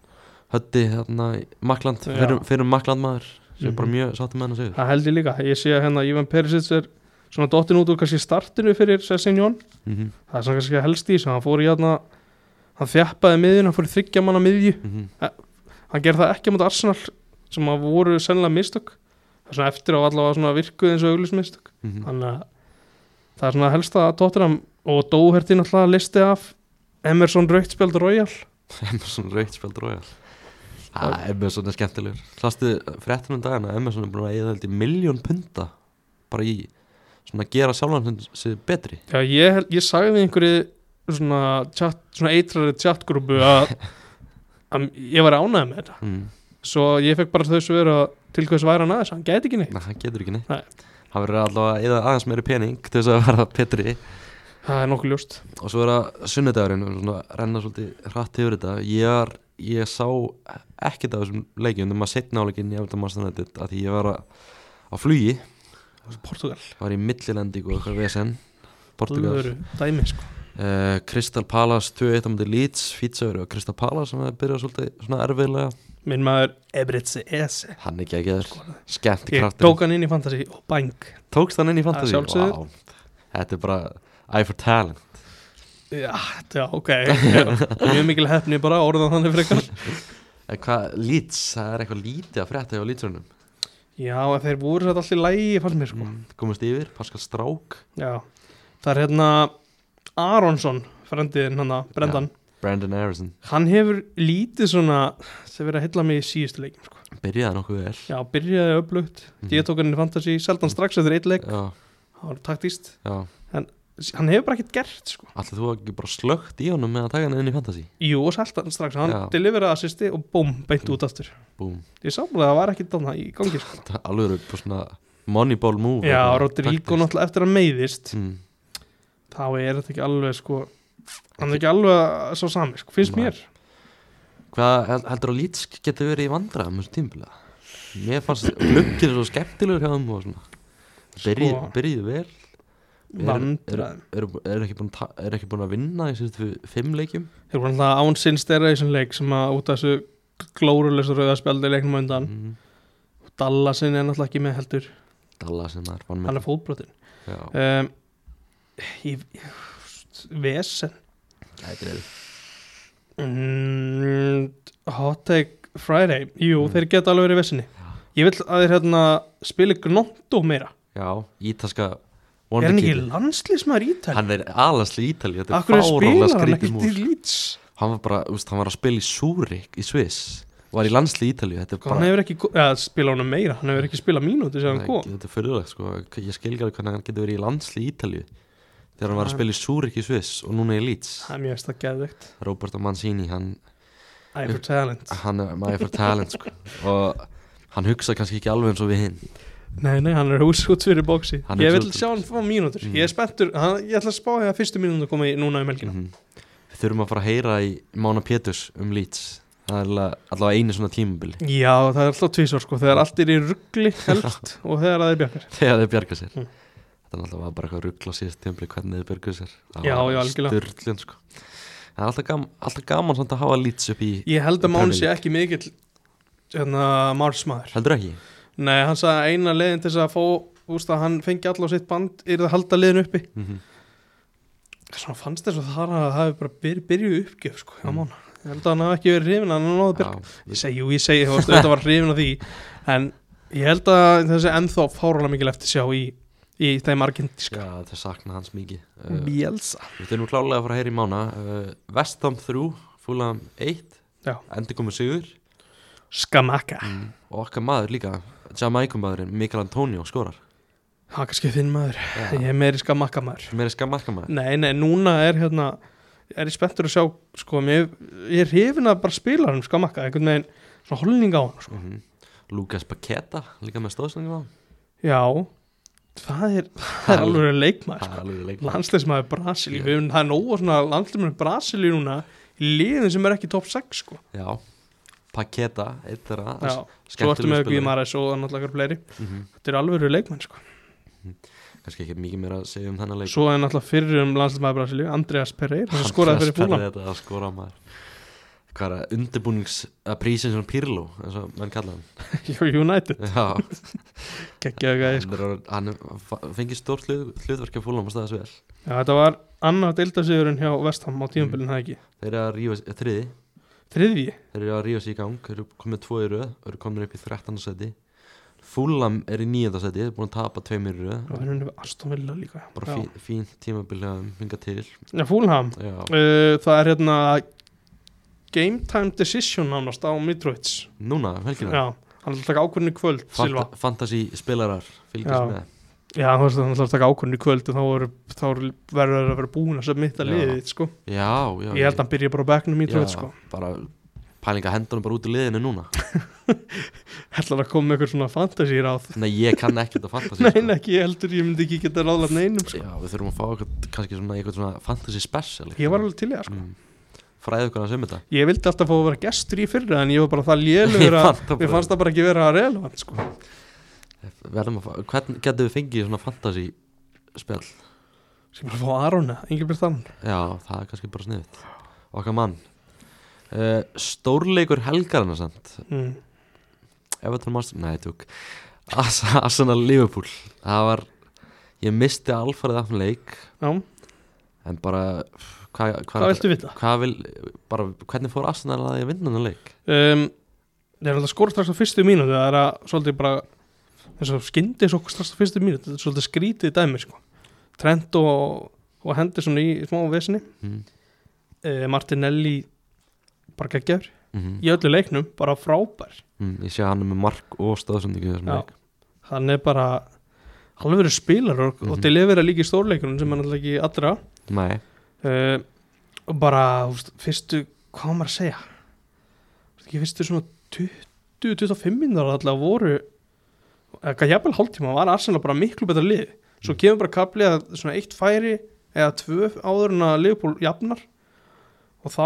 A: höddi hérna í Makland
B: Já.
A: fyrir, fyrir Makland maður sem er bara
B: Mhm.
A: mjög sátti með hann að sigur
B: Það held ég líka, ég sé að hérna Ivan Perisic er svona dottin út úr kannski startinu fyrir Sessinjón,
A: mm -hmm.
B: það er svona kannski helst í þessu, hann fór í hérna hann þjappaði miðjun, hann fór í þryggja manna miðju
A: mhm,
B: hann gerði það ekki á móti Arsenal sem að voru sennilega mistök það er svona eftir á allavega svona virkuð eins og auglis mistök
A: mhm.
B: þannig að það er svona helst að Tottenham og Dóhertin alltaf listi af Emerson Rautspjald Royal
A: Emerson Rauðspjald Royal ah, Emerson er skemmtilegur Hlastu fréttunum dagana að Emerson er búin að eða held í miljón punta bara í svona að gera sjálfan sem sér betri
B: Já, ég, hel- ég sagði einhverju svona, chat, svona eitrari chatgrúpu að, að ég var ánægð með þetta
A: mm.
B: svo ég fekk bara þau svör að til hvers væri hann aðeins, hann gæti ekki neitt
A: Nei, hann getur ekki neitt
B: Nei.
A: Hann verður allavega að eða aðeins meiri pening til þess að verða betri
B: það er nokkuð ljóst
A: og svo er að sunnudagurinn og svona renna svolítið hratt yfir þetta ég, er, ég sá ekkert af þessum leikjum þegar maður setna áleikinn í Everton Master United að því ég var að, á flugi
B: Portugal,
A: var í millilendingu og eitthvað vesen Portugal
B: Portugal. dæmi sko
A: Uh, Crystal Palace 2-1 á mútið Leeds Fítsöður og Crystal Palace sem hefði byrjað svolítið svona erfiðlega
B: minn maður Ebritse Ese
A: hann er geggjæður, skemmt í
B: ég
A: kraftin
B: tók hann inn í fantasy og bang
A: tókst hann inn í fantasy
B: Að sjálfsögðu.
A: Vá. þetta er bara eye for talent
B: já, já ok mjög mikil hefni bara orðan þannig frekar
A: en hvað Leeds, það er eitthvað lítið að frétta hjá Leedsurnum
B: já, en þeir voru satt allir lægi fannst mér sko
A: mm. komast yfir, Pascal Strák
B: já, það er hérna Aronsson, frendiðin hann Brendan
A: Brandon Harrison,
B: hann hefur lítið svona sem verið að heilla mig í síðustu leikum sko.
A: byrjaði nokkuð vel
B: já, byrjaði öflugt,
A: Mhm.
B: ég tók hann í fantasy seldan strax eftir eitt leik,
A: já,
B: það var taktíst
A: já
B: hann hefur bara ekkert gert sko.
A: allir þú ekki bara slögt í honum með að taka hann inn í fantasy
B: jú, og seldan strax, hann
A: Já. Mm.
B: deliveraði assisti og búm, beint út aftur
A: búm,
B: ég samlega það var ekkert þarna í gangi sko.
A: það er alveg upp á svona moneyball move
B: já,
A: Eitthvað
B: Rodrigo
A: taktískt.
B: náttúrulega eftir að meiðist
A: mm.
B: þá er þetta ekki alveg sko hann er ekki alveg svo sami sko, finnst
A: Nei.
B: mér
A: Hvað held- heldur að Leeds getur verið í vandræðum þessu tímbilega? Mér fannst glöggir svo skemmtilegur hjá þeim og svona Byrji,
B: Sko.
A: Byrjuðu vel
B: vandræðum
A: Eru er ekki, búin að ta- eru ekki búin að vinna í sérstu fimm leikjum
B: þeir voru alltaf án sinns þeirra í þessum leik sem að út af þessu glórulösa rauðaspjaldi leiknum á undan
A: mm.
B: Dallasin er náttúrulega ekki með heldur
A: Dalla sem það er vann
B: hann
A: með
B: er fótbrotinn
A: Já,
B: um, ég, Vesen
A: þetta er-
B: mm, Hot Take Friday Jú,
A: Mm.
B: þeir geta alveg verið vesenni
A: Já.
B: Ég vil að þeir hérna spili Gnotto meira
A: Já, ítalska
B: Er hann ekki
A: wonderkid.
B: landslísmaður ítali?
A: Hann er alasli ítali Þetta er
B: Akkur
A: fárónlega
B: spilar hann ekki
A: skrítið múl
B: til lýts
A: Hann var bara, úst, hann var að spila í Súrik í Sviss Var í landsli ítali Þetta er bara
B: Hann hefur ekki, go- eða spila honum meira Hann hefur ekki spilað mínúti sem hann
A: Nei,
B: kom
A: Þetta er fyrirlegt sko, ég skil ekki alveg hvernig hann getur verið í landsli í Ítalju þegar hann var að
B: Nei.
A: spila í Súrik í Sviss og núna í Leeds
B: Það er mjög veist að geðveikt
A: Roberto Mancini, hann,
B: Æ, for talent
A: hann er maður fyrir talent sko. og hann hugsa kannski ekki alveg eins og við hinn
B: Nei, nei, hann er hús út fyrir bóksi
A: Hann er
B: Ég vil
A: hús út-
B: sjá hann fá mínútur
A: Mm.
B: Ég er spenntur, hann, ég ætla að spá að fyrstu mínútur koma í núna um helgina
A: Mhm. Við þurfum að fara að heyra í Mána Péturs um Leeds það er allavega- allavega einu svona tímabili
B: Já, það er alltaf tvísvar sko, þegar allt er í ruggli helst og þegar það er bjargar
A: þegar þau bjarga sér
B: Mm.
A: Þetta er náttúrulega bara eitthvað ruggla síðast tímabili hvernig þau bjarga sér
B: Já, já, algjörlega.
A: Sturlun sko Það er alltaf gaman, alltaf gaman samt að hafa Leeds upp í
B: Ég held að
A: Premier
B: Máni sé ekki mikill hérna, marsmaður
A: Heldur ekki?
B: Nei, hann sagði að eina leiðin til þess að fá úst að hann fengi all á sitt band er að halda leiðin uppi
A: Mm
B: Svona fannst þess að það að það hefur bara byr, byrjuð uppgjöf sko, hjá
A: Mm.
B: Mána Ég held að hann hafi ekki verið hrifin að hann náði byrg
A: Já,
B: Ég segi, jú, ég segi, þú veist, þetta var hrifin af því en ég held að þessi ennþá fárónlega mikil eftir sjá í, í þeim argentíska
A: Já, það sakna hans mikið
B: Mm.
A: uh,
B: Bielsa
A: Við þurfum klálega að fara að heyra í mána uh, Vestam 3, Fulham 1
B: Já. Mm.
A: Endur komið sigur
B: Skamaka
A: og okkar maður líka Jamaikum maðurinn Mikael Antonio skorar
B: það er kannski þinn maður
A: Já.
B: ég er meiri skamakka maður
A: meira skammarka maður
B: nei, nei, núna er hérna er ég spenntur að sjá, sko mér, ég er hrifin að bara spila hann um skamakka einhvern veginn, svona holning á hann sko.
A: mm Lucas Paqueta, líka með stóðsendingum á
B: já, það er það er alveg leikmaður,
A: Það er
B: sko
A: alveg leikmaður.
B: landsleismæður Brasilíu,
A: Já.
B: við höfum það er nóg af svona landsleismæður Brasilíu núna í liðin sem er ekki top 6 sko
A: Já, Paqueta, eitt þeirra
B: já, svo ertu með Guimaraes og náttúrulega ykkur fleiri,
A: mm
B: þetta er alveg leikmenn sko
A: Kannski ekki mikið meira að segja um þennan leik
B: svo er náttúrulega fyrir um landsleismæður Brasilíu Andreas Pereira, sem skoraði fyrir fúlan
A: Þetta að skora maður Hvað er að undirbúnings að prísin svona Pirlo eins og menn kalla hann
B: United, sko.
A: Já,
B: geggjaðu gæði
A: hann, er, orðinn- hann er- fa- fengið stórt hlut, hlutverk að fúlum að staðast vel
B: Já, þetta var annar deildasíðurinn hjá Vestham á
A: Mm.
B: tímabilin, það ekki.
A: Þeir eru að rífa, s- þriði,
B: Þriðji,
A: þeir eru að rífa sér í gang Þeir eru komið tvo í röð, þeir eru komin upp í 13. seti Fúlam er í 9. seti, þeir eru búin að tapa tveimur í
B: það
A: röð
B: var henni við Aston Villa líka. já.
A: Bara fín, fín tímabil að hinga til
B: Já, Fúlham,
A: Já,
B: uh, það er hérna game time decision nánast á Mitrovic.
A: núna, helgina
B: Já, hann ætlar að taka ákvörðinu í kvöld, Silva.
A: Fanta, Fantasy spilarar, fylgjast
B: Já.
A: með
B: Já, þú veist, hann ætlar að taka ákvörðinu í kvöld og þá, er, þá er- verður það að vera búin að submitta
A: Já.
B: liðið, þitt, sko.
A: Já, já
B: Ég held að hann byrja bara á bekknum Mitrovic,
A: Já,
B: sko.
A: bara pælinga hendunum bara út í liðinu núna
B: Ætlar að koma með eitthvað svona fantasy ráð.
A: Nei, ég kann ekki þetta fantasi
B: Nei, nei, ekki, ég heldur, ég myndi ekki geta ráðlega neinum, sko.
A: sko. Já, við þurfum að fá eitthvað, kannski svona eitthvað svona fantasy special
B: Ég var alveg til í það, sko.
A: mm, Fræðu okkur að sömu um þetta
B: Ég vildi alltaf fá að vera gestur í fyrra en ég var bara það
A: Ég
B: lélugur að
A: fann það
B: mér
A: bara.
B: fannst það bara ekki vera relevant sko.
A: Verðum að fá, hvern getum við fengið svona fantasy spjall?
B: Sem bara að fá Arona, enginn byrð þann
A: Já, það er kannski bara sniðið Okkar mann uh, Stórleikur helgarina samt
B: mm.
A: Everton Master, nei, tjók As- Arsenal Liverpool Það var, ég misti alfarið af þeim leik
B: Já,
A: En bara, hvað hva,
B: hvað viltu vita?
A: hvað vil, bara hvernig fór Arsenal að því að vinna þennan leik?
B: Um, það er alltaf skora strax á fyrstu mínútu það er að svolítið bara eins og skyndis okkur strax á fyrstu mínútu þetta er svolítið skrítið dæmi sko. Trent og, og hendi svona í smá vesinni
A: Mm.
B: uh, Martinelli bara geggjör
A: Mm
B: í öllu leiknum, bara frábær
A: mm, ég sé að hann er með mark og stöðsendingu í þessum
B: Já.
A: leik
B: hann er bara alveg spilar og, og
A: Mhm.
B: til yfir að líka í stórleikunum sem hann alltaf ekki allra
A: Nei,
B: uh, og bara úst, fyrstu, hvað á maður að segja Þú veist ekki fyrstu svona 20-25 minnur allavega voru eitthvað jafnvel hálftíma var Arsenal bara miklu betra lið svo
A: Mm.
B: kemur bara kapli að svona eitt færi eða tvö áður en að Liverpool jafnar og þá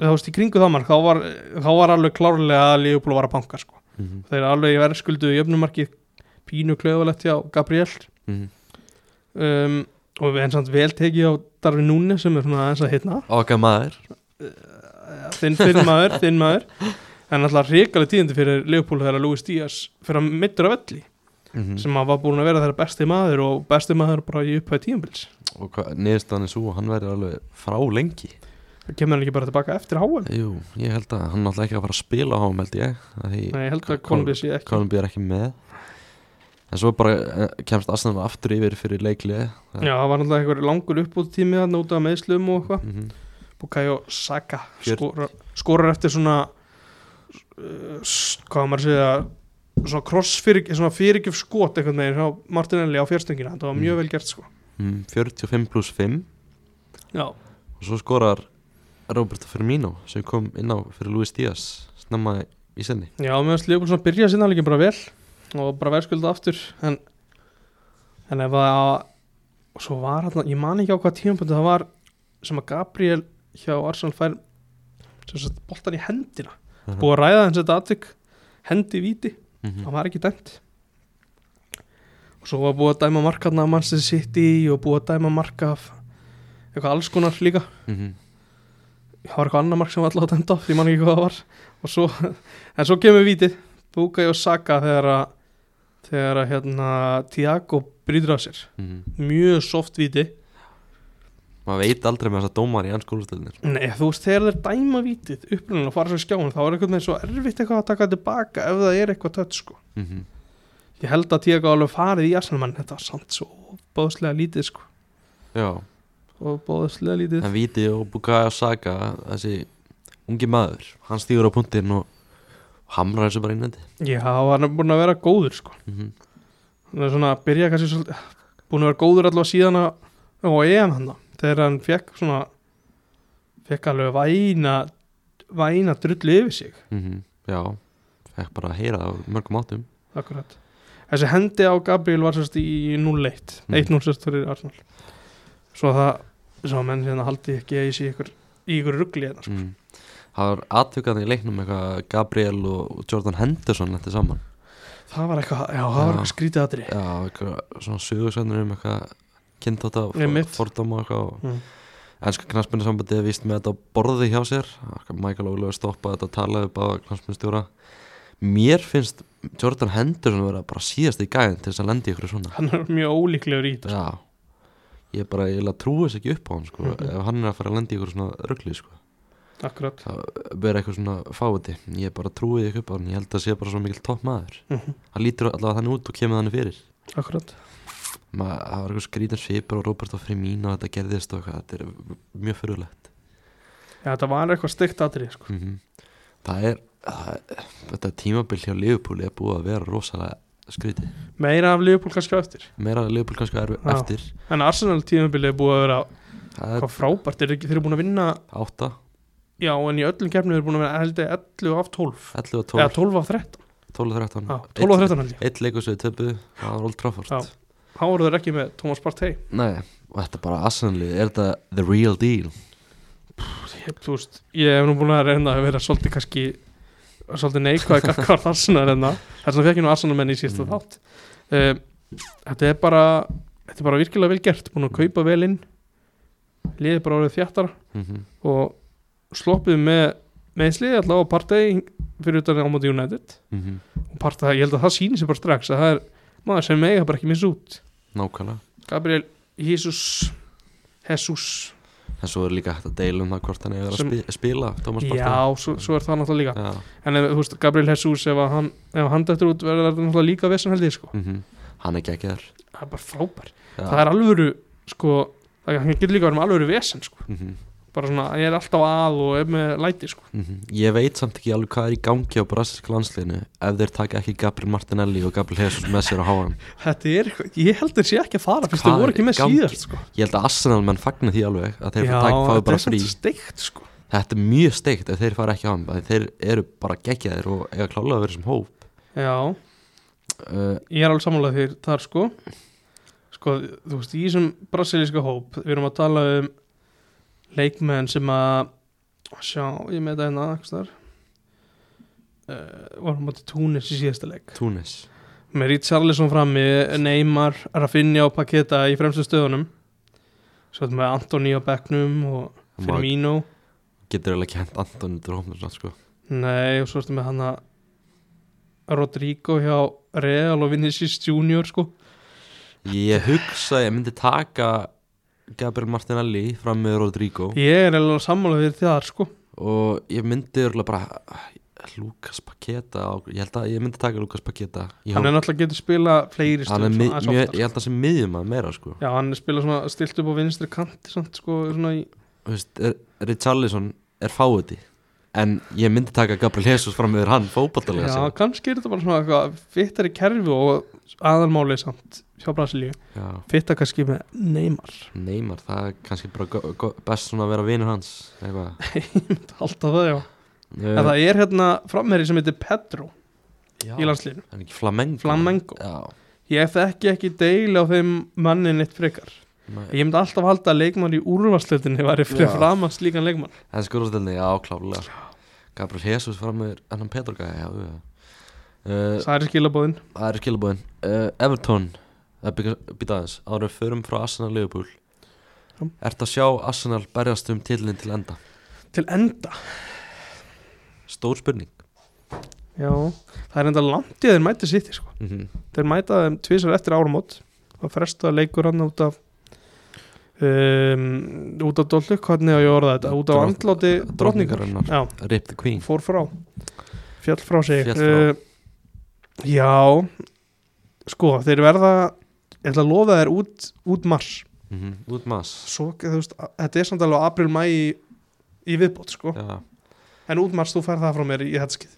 B: þú veist í kringu það mann þá var, þá var alveg klárlega að Liverpool var að banka sko.
A: mm -hmm.
B: þeir alveg í verðskuldu jöfnumarkið pínu klöfulegt hjá Gabriel
A: mhm.
B: um, og við erum samt vel tekið á Darfi Núni sem er svona aðeins að hitna
A: okkar maður
B: þinn, þinn maður, þinn maður en alltaf reikaleg tíðindi fyrir Leopold þegar Louis Díaz fyrir að mittur af velli
A: mm
B: sem að var búin að vera þeirra besti maður og besti maður bara í upphæð tíðanbils
A: og neðstæðan er svo, að hann verður alveg frá lengi
B: það kemur hann ekki bara tilbaka eftir háan
A: Jú, ég held að hann náttúrulega ekki að fara að spila á hann held ég, að því
B: Nei, ég held að
A: Kol-
B: Kolumbi sé ekki
A: Kolumbi er ekki með en svo bara eh, kemst Arsenal aftur yfir fyrir leiklið
B: Já, það var náttúrulega einhver langur uppbútt tími að nota meðslum og eitthvað
A: mm -hmm.
B: Bukayo Saka
A: Fjör-
B: skorar, skorar eftir svona uh, s- hvað á maður að segja svona cross fyrir, svona fyrirgjöf skot einhvern veginn hjá Martinelli á fjárstöngina þetta var
A: Mm.
B: mjög vel gert sko
A: mm, 45 pluss 5
B: Já,
A: og svo skorar Roberto Firmino sem kom inn á fyrir Luis Díaz snemma í senni
B: Já, mér finnst Leopold svona byrja sinna líka bara vel og bara verðskulda aftur en, en ef að og svo var hann, ég man ekki á hvað tímapunktu það var sem að Gabriel hjá Arsenal fær sem sagt boltan í hendina
A: Mhm.
B: búið að ræða hans þetta atvik hendi í víti,
A: Mhm.
B: það var ekki dæmt og svo var búið að dæma markarna af Manchester City og búið að dæma marka af eitthvað alls konar líka
A: Mhm.
B: það var eitthvað annað mark sem var alltaf dæmt á því mann ekki hvað það var og svo, en svo kemur vítið Bukai og Saka þegar að þegar að hérna Tiago brýtur af sér,
A: Mhm.
B: mjög soft víti
A: maður veit aldrei með þessa dómar í hans skólastöldinir
B: Nei, þú veist, þegar þeir dæma vítið upprunalega og fara svo í skjáin, þá er einhvern veginn svo erfitt eitthvað að taka tilbaka ef það er eitthvað tött sko.
A: mm -hmm.
B: ég held að Tiago alveg farið í Arsenal menn þetta var samt svo bóðslega lítið sko.
A: já,
B: og bóðslega lítið
A: en Viti og Bukayo Saka þessi ungi maður hann stýgur á punktinn og hamrar þessu bara innandi
B: Já, hann er búin að vera góður sko.
A: mm -hmm.
B: hann er svona að byrja kannski svolítið, búin að vera góður allavega síðan að, á EM hann þegar hann fekk svona fekk alveg væna væna drullu yfir sig
A: Mhm. Já, fekk bara að heyra það á mörgum áttum
B: akkurat. þessi hendi á Gabriel var sérst í 0-1
A: Mm.
B: 1-0 sérst fyrir Arsenal svo það, svo að menn hérna haldi ekki að ég sé ykkur í ykkur ruggli hérna sko.
A: mm. Það var atvikaðan í leiknum eitthvað Gabriel og Jordan Henderson lendi saman
B: það var eitthvað, já það var
A: Já.
B: eitthvað skrítið aðri
A: Já, eitthvað svona sögursöndur um eitthvað kynntóta og
B: Einmitt.
A: fordóma og eitthvað og
B: mm.
A: Ennska knarsmyndasambandi er vist með þetta á borði hjá sér Michael Oliver stoppaði þetta að tala upp á knarsmyndstjóra Mér finnst Jordan Henderson vera bara síðast í gæðin til þess að lendi ykkur svona
B: hann er mjög ólíklegur í þetta
A: Já Ég bara, ég eiginlega trúi þess ekki upp á hann sko
B: Mhm.
A: Ef hann er að fara að lendi ykkur svona ruggli sko
B: akkurat
A: Það vera eitthvað svona fáti Ég bara trúi ekki upp á hann Ég held að sé bara svo mikil topp maður
B: Mhm.
A: Hann lítur allavega þannig út og kemur þannig fyrir
B: akkurat
A: Ma, Það var eitthvað skrítin svipur og Roberto Firmino og Þetta gerðist og eitthvað Þetta er mjög fyrirlegt
B: já þetta var eitthvað steikt aðri sko.
A: mm það er það, þetta tímabil hjá Liverpool er búið að vera rosalega skrítið
B: meira af Liverpool kannski á eftir
A: meira að Liverpool kannski er
B: Já.
A: eftir
B: en Arsenal tímabilið er búið að vera
A: það er
B: hvað frábært, er ekki, þeir eru búin að vinna
A: átta,
B: já, en í öllum kefnum þeir eru búin að vinna held ég 11 af 12
A: 11 og
B: eða
A: 12
B: 12 af 13,
A: og 13
B: já, 12 af 13 held ég
A: Mm. eitt leikur sem við töpuðu, það var Old Trafford
B: Já. þá voru þeir ekki með Thomas Partey
A: nei, og þetta bara aðsennlið er þetta the real deal
B: ég, þú veist, ég hef nú búin að reynda að vera svolítið kannski svolítið neikvæð hvað Arsenal hérna. reynda þess að fekk ég nú Arsenal menn í síðasta
A: Mm.
B: þátt um, þetta er bara þetta er bara virkilega vel gert, búin að kaupa vel inn liðið bara orðið þjættara
A: mm
B: og sloppið með meðslið allavega á Partey fyrir utan á móti United
A: Mhm.
B: og part að ég held að það sýnir sér bara strax að það er maður sem mega bara ekki missa út
A: nákvæmlega
B: Gabriel Jesus Jesus
A: en svo er líka hægt að deila um það hvort hann er að
B: Sem-
A: spi spila Thomas Partey
B: já, svo, svo er það náttúrulega
A: já,
B: líka en ef, þú veist, Gabriel Jesus ef að hann, ef hann dættur út verður það náttúrulega líka vesen held ég sko
A: mhm. hann er geggjær
B: það er bara frábær, það er alvöru sko, það hann getur líka verið með alvöru vesen sko,
A: Mhm,
B: bara svona, ég er alltaf að og er með læti sko
A: Mm Ég veit samt ekki alveg hvað er í gangi á brasilíska landsliðinu ef þeir taka ekki Gabriel Martinelli og Gabriel Jesus með sér á háan
B: þetta er, eitthvað- ég held þeir sé ekki að fara fyrst
A: Hvað
B: þeir voru ekki
A: er í
B: með
A: gangi?
B: síðast sko
A: Ég held að Arsenal menn fagna því alveg að þeir
B: Já,
A: taka, fái
B: þetta
A: bara
B: er
A: frí
B: samt steikt sko
A: Þetta er mjög steikt ef þeir fara ekki á hann af því þeir eru bara geggjaðir og eiga klálega að vera sem hóp
B: já,
A: uh,
B: Ég er alveg sammála þér þar sko Sko, þú veist, í þessum brasilíska hóp Við erum að tala um leikmenn sem að Sjá, ég með þetta hérna einhvers staðar. uh, Varum að túnis í síðasta leik
A: Túnis
B: Með Richarlison frammi, Neymar, Rafinha og Paketa í fremstu stöðunum Svo þetta með Antoni á bekknum og
A: Maður
B: Firmino
A: getur alveg ekki hent Antoni til hópnum svona, sko.
B: Nei, og svo ertu með hann að Rodrigo hjá Real og Vinicius Junior sko
A: Ég hugsa að ég myndi taka Gabriel Martinelli fram með Rodrigo
B: Ég er alveg sammála þér þar sko
A: og ég myndi örgulega bara Lukas Paketa á, ég held að ég myndi taka Lukas Paketa í
B: hann
A: hóp.
B: er náttúrulega getur spila fleiri
A: hann er
B: stöðum
A: mið,
B: svona, aðeins
A: mjög,
B: oftar.
A: ég held að sem miðjum að meira sko
B: já, hann er spila svona stilt upp á vinstri kanti samt, sko, svona í,
A: Þú veist, er- Richarlison er fáiði en ég myndi taka Gabriel Jesus fram yfir hann fótballtalega
B: já,
A: séð.
B: kannski er þetta bara svona eitthvað fittar í kerfi og aðalmálið samt hjá Brasilíu,
A: já,
B: fittar kannski með Neymar,
A: Neymar, það er kannski bara go- go- best svona að vera vinur hans eitthvað
B: alltaf það já en
A: uh,
B: það er hérna framherri sem heitir Pedro
A: já,
B: í landslíðinu,
A: hann er ekki Flamengo
B: Flamengo.
A: já,
B: ég þekki ekki deil á þeim mannin eitt frekar,
A: ma-
B: ég myndi alltaf halda að leikmann í úrvarslutinni væri fyrir
A: Já.
B: framast líkan leikmann,
A: en skurðastelni, já, klálega Gabriel Jesus fram yfir annan Petro gæja, já, já Uh,
B: það er skilabóðin
A: það er skilabóðin uh, Everton, það byggja býta aðeins áður en við förum frá Arsenal Liverpool
B: Já.
A: Ertu að sjá Arsenal berjast um titlinn til enda?
B: til enda,
A: Stór spurning
B: já það er enda langt í að þeir mæti sitt sko
A: mm -hmm.
B: þeir mæta þeim tvisar eftir áramót og fresta leikur hann út af um, út af dollu, hvernig á ég að orða þetta út af andláti drotningar
A: Drotningarinnar,
B: já,
A: Rip the Queen
B: fór frá fjall frá sig
A: Féll frá.
B: Uh, já sko, þeir verða ég ætla að lofa þér út, út mars
A: mm Út mass
B: svo, þú veist, að- þetta er samt alveg april, mæ í, í viðbót sko,
A: Já,
B: en út mars þú fær það frá mér í þetta skið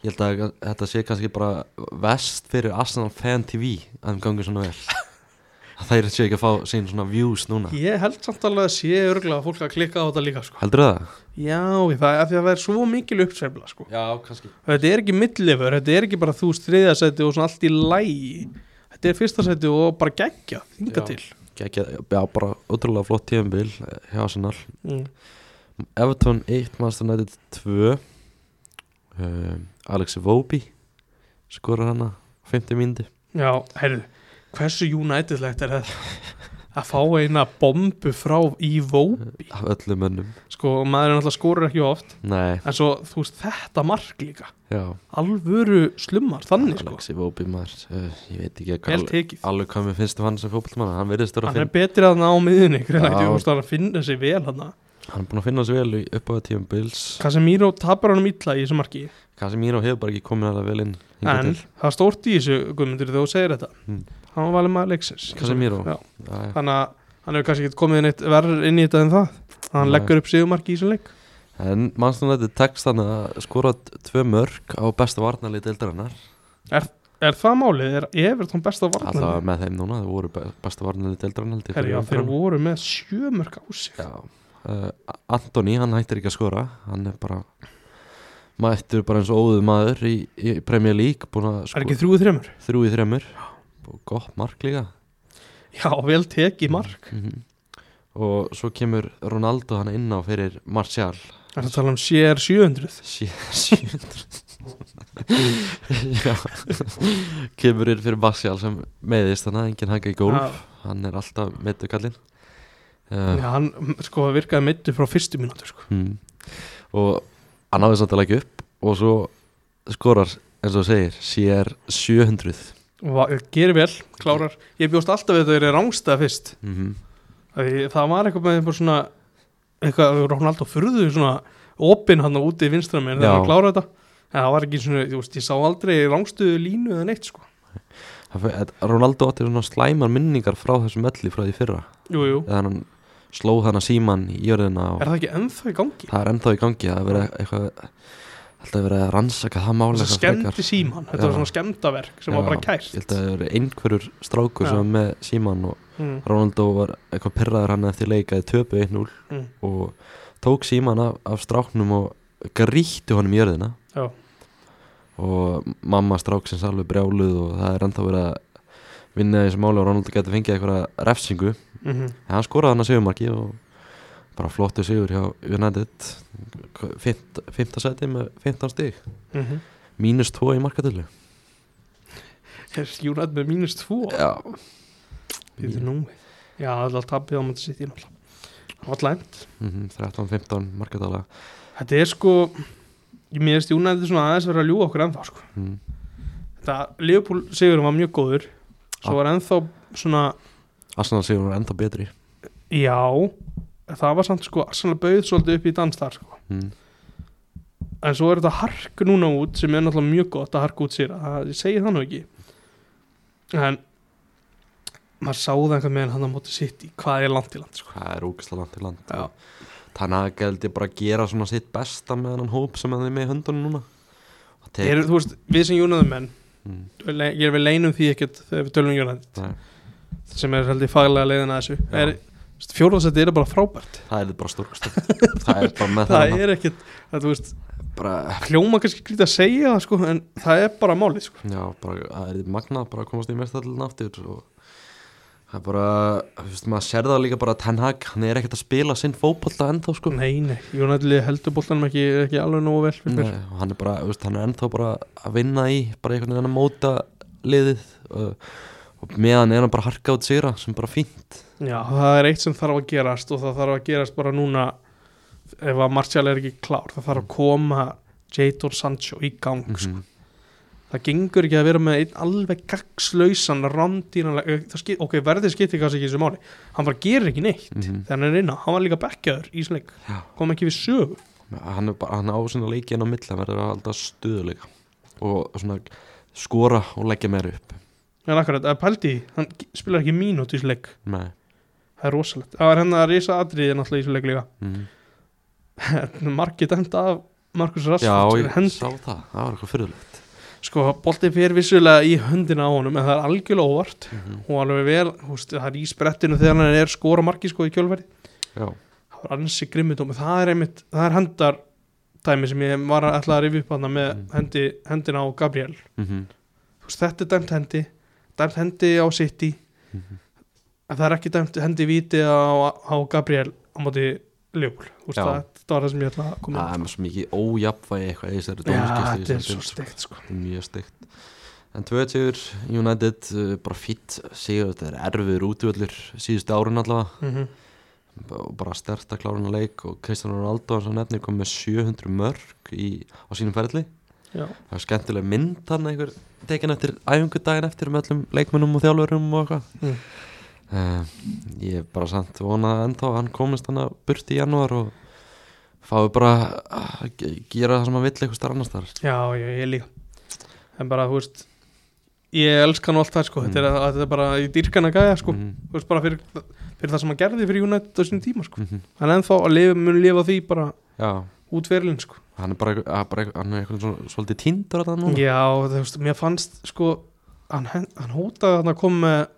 A: Ég held að þetta sé kannski bara vest fyrir Arsenal Fan TV að þeim gangi svona vel að þær séu ekki að fá sín svona views núna
B: Ég held samt alveg að sé örgulega fólk að klikka á þetta líka sko.
A: Heldur það?
B: Já, það er af því að það er svo mikil uppsveifla sko.
A: Já, kannski
B: Þetta er ekki millifur, þetta er ekki bara þú stríðasæti og svona allt í lægi Þetta er fyrsta sæti og bara geggja, þinga
A: Já.
B: til
A: Já, bara ótrúlega flott tíðanbíl hjá Arsenal
B: mm.
A: Everton 1, Manchester United 2 um, Alexi Vobi skorar hana 50 mínúti
B: Já, heyrðu, hversu Unitedlegt er þetta? Að fá eina bombu frá í vó
A: af öllum önnum
B: Sko, maður er náttúrulega skorur ekki oft
A: Nei,
B: En svo, þú veist, þetta mark líka
A: já
B: Alvöru slummar, þannig sko
A: Alexi Vobi maður uh, ég veit ekki
B: Vel
A: hvað
B: tekið
A: alveg hvað mér finnst um hann sem fótballmann hann verðist vera að
B: Hann er
A: finna
B: betri að ná miðinni, greinlega
A: Já.
B: ekki, þú veist, hann finnir sig vel hann
A: hann er búin að finna sér vel í uppáðu tíum bils
B: Casemiro tapar honum illa í þessu marki
A: kannski mín og hefur bara ekki komin að það vel inn hingað
B: En
A: til.
B: það stórt í þessu, Guðmundur, þegar þú segir þetta
A: Mm.
B: Hann var valið maður leiksins
A: Casemiro.
B: Já,
A: Já,
B: Þannig að hann hefur kannski ekki komið neitt verð inn í þetta en það Hann
A: Nei.
B: leggur upp sigumarki í þessu leik
A: já. en mannstunum þetta tekst hann að skora t- tvö mörg á besta varnarlið deildarinnar
B: Er það málið? Er Evertón besta
A: alltaf
B: varnarlið?
A: með þeim núna það voru be- besta varnarlið deildarinnar held ég, fyrir
B: Herjá, þeir
A: umferðina.
B: voru með sjömörk á sig
A: Já, uh, Antoni, hann hættir ekki að skora hann er bara mættur bara eins og óðu maður í, í Premier League, búin að
B: Er
A: skora
B: ekki þrjúið þremur?
A: þrjú í þremur og gott mark líka
B: Já, vel tekið mark
A: -hmm. og svo kemur Ronaldo hann inn á fyrir Martial
B: Er það að tala um sér 700?
A: Sjö- 700 Já kemur inn fyrir Martial sem meðist þannig að enginn hækka í gólf
B: Já.
A: hann er alltaf meittu kallinn Eh,
B: Já, hann m- sko virkaði meittu frá fyrstu mínútu sko.
A: mm. og hann náði samt að leggja upp og svo skorar eins og þú segir, sér 700
B: Og va- Gerir vel, klárar Ég bjóst alltaf við þetta að vera rángstæða fyrst
A: mm
B: Af því Það var eitthvað með eitthvað svona eitthvað, Ronaldo furðu svona opinn hann úti í vinstra mér
A: Já.
B: þegar hann klárar þetta en það var ekki svona, þú veist, ég sá aldrei rángstuðu línu eða neitt sko
A: Ronaldo átti svona slæmar minningar frá þessum melli frá því fyrra
B: Jú, jú,
A: eða hann sló hana síman í jörðina og
B: er það ekki ennþá í gangi?
A: það er ennþá í gangi það er verið eitthvað alltaf verið að rannsaka það mála
B: Þess að skemmti síman, þetta
A: Já.
B: var svona skemmtaverk sem var bara kært
A: ég held að það verið einhverjur strákur
B: Já.
A: sem var með síman og
B: mm,
A: Ronaldo var eitthvað pyrraður hann eftir leikaði töpu 1-0
B: Mm.
A: og tók síman af, af stráknum og gríti honum í jörðina
B: Já.
A: og mamma stráksins alveg brjáluð og það er ennþá verið að vinna í þessu máli og Ronaldo geti fengið eitthvað refsingu en
B: mm
A: hann skoraði hann að sigurmarki og bara flottu sigur hjá United Fimt, fymta seti með 15 stig
B: -hmm.
A: mínus 2 í markatölu
B: Er Júnat með mínus 2?
A: Já
B: Býtu nú Já, alltaf tapið á mætti sitt í náttúrulega Það var læmt
A: Mhm, 13-15 markatöla
B: Þetta er sko Ég meðist Júnat svona aðeins verið að ljúga okkur ennþá sko.
A: mm.
B: Þetta, Leopold sigurum var mjög góður Svo
A: Ah.
B: var ennþá svona
A: Arsenal sigur var ennþá betri
B: Já, það var samt sko Arsenal bauð svolítið upp í dans þar sko.
A: mm.
B: En svo er þetta hark núna út sem er náttúrulega mjög gott að harka út sér það, Ég segi það nú ekki En maður sá það einhvern veginn hann að móti sitt í hvað er land í land sko.
A: hvað er ógislega land til land
B: Já.
A: þannig að gældi bara að gera svona sitt besta með hann hóp sem hann er með í höndunum núna og tek
B: er, Þú veist, við sem júnaðum menn
A: mm,
B: ég er við leinum því ekkert þegar við tölum um United
A: það,
B: sem er heldur faglega leiðin að þessu
A: Já.
B: er, fjórðarsætti er bara frábært
A: það er bara stórkast það er bara með
B: það
A: það
B: er ekkert, það, þú veist
A: bara,
B: hljóma kannski grítið að segja það sko en það er bara málið sko
A: já, bara, það er magnað bara að komast í mestallin aftur og það er bara, þú veist, maður sér það líka bara að Ten Hag, hann er ekkert að spila sinn fótbolta ennþá sko
B: nei, nei, United heldur boltanum ekki, ekki alveg nógu vel Mm, fyrir
A: Nei, og hann er bara, þú veist, hann er ennþá bara að vinna í, bara einhvern veginn að móta liðið og, og meðan er hann bara að harka át sigra sem bara fínt
B: já, það er eitt sem þarf að gerast og það þarf að gerast bara núna ef að Martial er ekki klár það þarf að koma Jadon Sancho í gang sko.
A: Mm. Mhm.
B: það gengur ekki að vera með einn alveg gagslausan randýranlega, ok, verðið skiptir kannski ekki í þessu máli, hann bara gerir ekki neitt
A: Mhm.
B: þegar hann er inn á, hann var líka bekkjaður í sleik
A: Já.
B: kom ekki við sögu
A: hann, er bara, hann á svona leiki inn á milli hann verður alltaf stuðuleika og svona skora og leggja meira upp
B: en akkurat, að Paldi, hann g- spilar ekki mínút í sleik
A: Nei.
B: það er hérna
A: Mhm.
B: rosalegt, það var hennar risa atriði náttúrulega í sleik líka
A: Mm.
B: margir dæmt af Markus
A: Já,
B: Rashford fyrir
A: ég
B: hendi
A: sá það, það var eitthvað fyrirlegt
B: sko, boltið fer vissulega í höndina á honum en það er algjörlega óvart
A: mm
B: og alveg vel, húst, það er í sprettinu þegar hann er skora marki sko í kjölverði
A: Já,
B: það var ansi grimmudómi, það er einmitt það er hendar dæmi sem ég var að ætla að rifja upp hann með
A: Mm.
B: hendi, hendina á Gabriel
A: mm -hmm.
B: húst, þetta er dæmt hendi dæmt hendi á City en það er ekki dæmt hendi viti á, á Gabriel á móti Ljúl, húst,
A: Já.
B: það, þetta var það sem ég ætla að koma
A: það er með svo mikið ójafnvægi eitthvað í þessari
B: Já,
A: dómskipti
B: Ah, þetta er svo steikt sko
A: Þetta er mjög steikt En 2-2 United, uh, bara fýtt sigur þetta er erfiður útvöldur síðustu árun allavega
B: mm
A: og bara stert að klára hann leik og Kristján Ronaldo hans á nefni kom með 700 mörg í, á sínum ferli
B: Já,
A: það var skemmtileg mynd hann einhver tekin eftir æfingu daginn eftir með öllum leikmönnum og þjálfurum og eitthvað
B: Mm.
A: mm. ég er bara samt vonað ennþá að hann komist hann að burti í janúar og fái bara að ge- gera það sem hann vill eitthvað starf annars þar
B: já, já, ég líka En bara, þú veist Ég elska hann og allt það sko þetta, er, að- þetta er bara í dýrkana gæja sko
A: mm
B: Þú veist, bara fyrir, fyrir það sem hann gerði fyrir United á sínum tíma sko
A: -hmm.
B: Hann ennþá að lifa, mun lifa því bara
A: já,
B: út verilinn sko
A: hann er bara, eitthvað- að bara eitthvað- hann er eitthvað svona- svolítið tindur að það núna
B: Já, þú veist, mér fannst sko Hann, hen- hann hótaði hann að koma með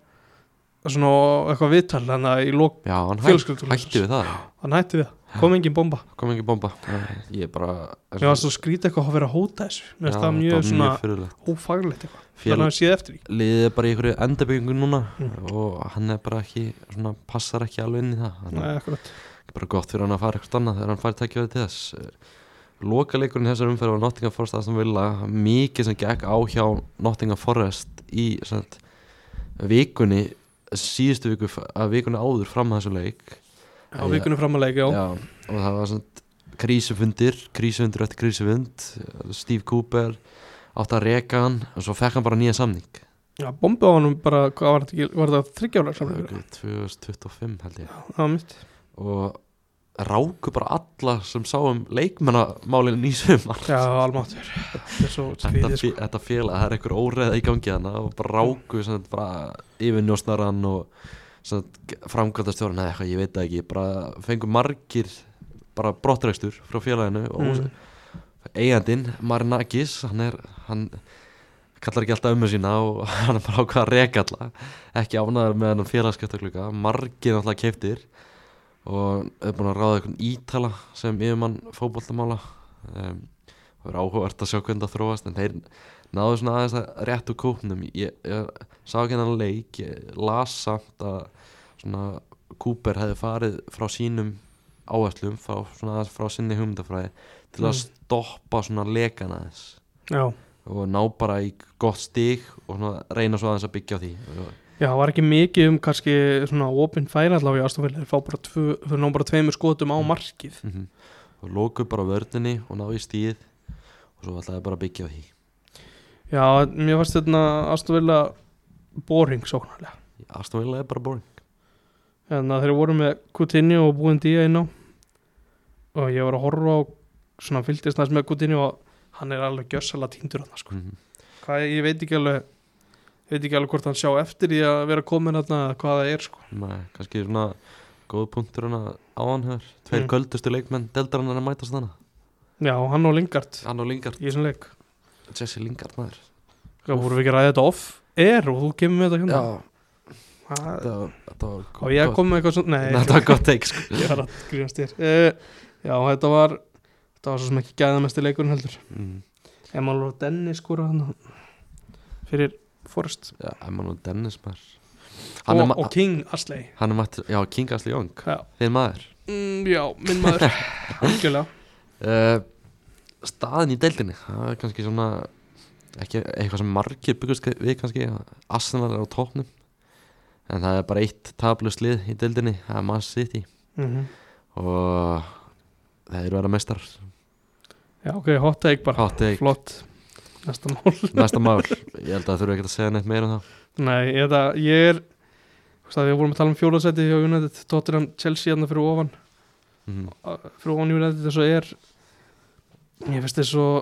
B: svona eitthvað viðtal hann að í lok
A: já hann hæ,
B: fjölskyldunum
A: hætti við það
B: hann hætti við það, kom engin bomba
A: kom ekki bomba Nei, ég er bara
B: mér varst að skrýta eitthvað að vera að hóta þessu
A: Já,
B: mér varst það
A: þetta var
B: mjög svona
A: furðulegt.
B: ófaglegt eitthvað
A: Fél-
B: þannig að séð eftir því
A: liðið er bara í einhverju endabyggingu núna
B: Mm.
A: og hann er bara ekki, svona, passar ekki alveg inn í það hann
B: Nei, akkurat.
A: er bara gott fyrir hann að fara eitthvað annað þegar hann fær tækjaði til þess Eh, lokaleikurinn í þessar umferð var Nottingham Forest aðstum vilja mikið sem gekk á hjá Nottingham Forest í sant, vikunni síðustu viku f- að vikunni áður fram að þessu leik
B: á
A: Já.
B: vikunum fram að leika, já,
A: Já, og það var svona krísufundir, krísufundir eftir krísufund Steve Cooper átti að reka hann og svo fekk hann bara nýja samning
B: já. bombi á honum bara, hvað var þetta ekki, var þetta þryggjálega samlega,
A: 2025 held ég
B: það var mitt
A: og ráku bara alla sem sáum leikmannamálinn í sumar
B: já, almáttur, þetta er svo
A: þetta,
B: skrýtið
A: fé,
B: sko.
A: þetta félag, það er einhver óreða í gangi hana og bara ráku sem sagt, bara yfirnjósnarann og framkvæmtastjóran eða eitthvað, ég veit það ekki bara fengu margir bara brottrekstur frá félaginu
B: Mm.
A: og eigandinn, Marin Akis hann er, hann kallar ekki alltaf ömmu sína og hann er bara ákvað að reka alla ekki ánæður með hann félagskeptakluka margir alltaf keiftir og er búin að ráða einhvern ítala sem yfirmann fótbollamála um, og er áhugavert að sjá hvernig það þróast en þeir náðu svona aðeins að réttu kúpnum ég, ég sá ekki hennan leik ég las samt að svona Cooper hefði farið frá sínum áherslum frá, svona aðeins frá sinni hugmyndafræði til að
B: Mm.
A: stoppa svona lekan aðeins
B: já,
A: og ná bara í gott stig og svona reyna svo aðeins að byggja á því og,
B: já, það var ekki mikið um kannski svona opinn færa allavega í ástofnvili, þeir fá bara tvö, þeir ná bara tveimur skotum á markið
A: mm og lóku bara vördinni og ná í stíð og svo ætlaði bara að byggja á því
B: já, mér fannst þetta ástofnvili boring sóknarlega,
A: Aston Villa er bara boring
B: en þeir voru með Coutinho og Buendía inn á og ég var að horfa á svona fylgdist næst með Coutinho og hann er alveg gjössalega týndur hann sko
A: mm -hmm.
B: hvað, ég veit ekki alveg ég veit ekki alveg hvort hann sjá eftir í að vera komin hérna hvað það er sko
A: Nei, kannski svona góð punktur hérna hana á hann hér tveir
B: Mm.
A: köldustu leikmenn, deldar hann að mætast þannig
B: já, hann og Lingard
A: hann og Lingard,
B: í þessum leik
A: Jesse Lingard maður
B: það voru við ekki að ræða þetta off er og þú kemur með þetta hérna Ha,
A: þetta var- þetta var
B: og ég kom með eitthvað svona nei,
A: Nei, þetta var gott teik sko.
B: ég var að grífast þér uh, já, þetta var þetta var svo sem ekki gæðamesti leikurinn heldur
A: mm.
B: Emil og Dennis skora hann fyrir Forrest
A: Já, Emman og Dennis maður hann er,
B: og,
A: ma
B: og King Asley
A: hann er mættur, já, King Asli Young
B: já,
A: þinn maður
B: mm, já minn maður algjörlega
A: uh, staðin í deildinni það er kannski svona ekki eitthvað sem margir byggust við kannski Arsenal er á topnum en það er bara eitt tablust lið í deildinni það er Man City
B: mm
A: og það eru að vera mestar
B: já, ok, hot take bara
A: Hot take.
B: flott næsta mál
A: næsta mál, ég held að það þurfi ekki að segja neitt meira um það
B: Nei, ég, það, ég er þú veist að við vorum að tala um fjólasæti hjá United, Tottenham, Chelsea hérna fyrir ofan
A: mm.
B: uh, fyrir ofan United þess að er ég finnst þess að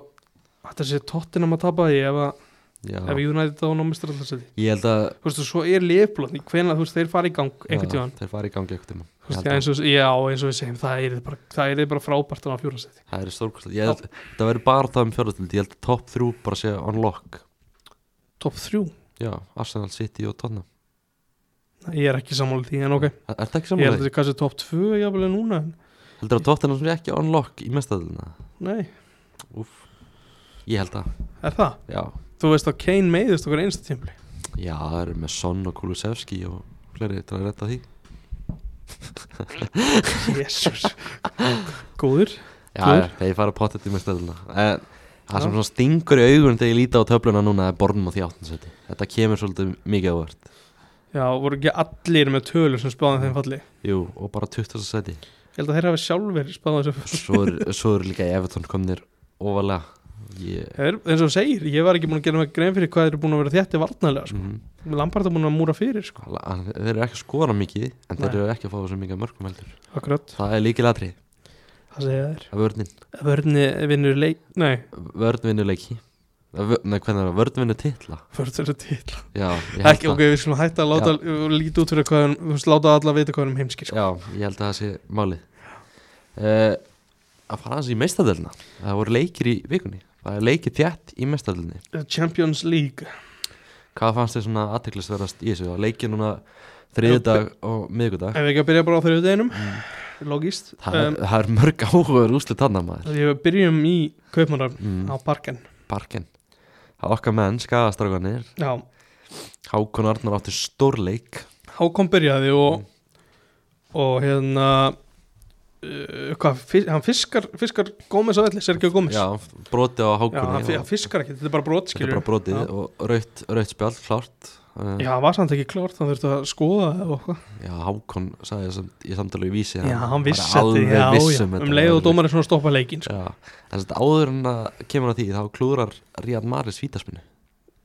B: þetta sé Tottenham að tapa því ef, að, ef
A: já,
B: United á námistur alltaf sæti
A: ég held að
B: þú veist, og svo er liðblóðni, hvenær þú veist, þeir fara í gang einhvern tíðan,
A: Já, þeir fara í gangi einhvern tíma
B: þú
A: Ég held
B: Já,
A: að-
B: eins og, já, eins og við segjum, það er bara, það er bara frábært að ná fjórastæti.
A: Það er stórkvæmst Ég held, það verður bara það um fjörðastild Ég held að topp þrjú bara sé on lock
B: Top 3?
A: Já, Arsenal City og Tottenham
B: Ég er ekki sammála því, en ok.
A: Er er það ekki
B: Ég held að
A: samanlega?
B: þetta er kannski top 2, jáfnvel núna. en-
A: Heldur að Tottenham sem er ekki on lock í mestadildina?
B: Nei,
A: Úff Ég held að,
B: er það?
A: já
B: Þú veist að Kane meiðist okkur einsta tímpli.
A: Já, það eru með Son og Kulusevski og fleiri til að retta því
B: Jésús. Góður.
A: Já,
B: Klár.
A: já, þeir fara pottet í mestadildina En það sem svona stingur í augun þegar ég líti á töfluna núna er bornum á því áttinsæti Þetta kemur svolítið mikið ávart
B: Já, voru ekki allir með tölur sem spáði þeim falli.
A: Jú, og bara 20. sæti
B: Ég held að þeir hafi sjálfur spáði þessu falli.
A: Svo eru svo er líka Everton komnir ofalega Ég
B: Er, eins og þú segir, ég var ekki búin að gera mig grein fyrir hvað þeir eru búin að vera þétti varnalega sko.
A: Mhm.
B: Lampard er búin að múra fyrir sko.
A: Alla- hann- Þeir eru ekki að skora mikið En þeir
B: Nei.
A: eru ekki að fá þessu mikið mörgum heldur
B: Akkurat,
A: Það er líkið latri
B: það segja þeir
A: Vörnin
B: Vörni vinnur leik, nei,
A: Vörn vinnur leiki Vö- Nei, hvernig er það? Vörn vinnur titla
B: vörn er að titla
A: Já, ég held
B: Ekki, ok, við skulum hætta að láta líti út fyrir hvað, hann- þú veist, láta alla vita hvað hann um heimski sko.
A: Já, ég held að það sé málið uh, Að fara hans í meistadelna Það voru leikir í vikunni Það er leikið þjætt í meistadelni
B: Champions League
A: Hvað fannst þér svona aðteklisverðast í þessu? Það leikið núna þriðdag og miðgudag
B: Ef við ekki að byrja bara á þriðudeginum Logist
A: Það,
B: um,
A: það er mörg áhugaður úslit hann maður
B: Ég byrjum í Kaupmannarfn
A: mm,
B: um, á parken
A: Parkin Það er okkar menn, skagastraganir
B: Já,
A: Hákon Arnar átti stórleik
B: Hákon byrjaði
A: Mm.
B: og og hérna uh, hvað, fis- hann fiskar fiskar Gómez á velli, Sergio Gómez
A: Já, broti á
B: Já, hann,
A: Hákoni
B: fi- hann fiskar ekki, þetta er bara brot
A: Þetta er
B: skilur
A: bara brotið
B: Já.
A: og raut, raut spjald, klárt Uh,
B: Já, hann var samt ekki klárt, hann þurfti að skoða það og eitthvað.
A: já, Hákon sagði samt, í samtalegu í vísi
B: Já, hann vissi
A: var
B: þetta,
A: alveg
B: já,
A: viss
B: já,
A: um þetta
B: um leið og dómarinn svona stoppa leikinn, sko.
A: Já, en þetta áður en að kemur að því þá klúrar Ríad Maris vítaspinu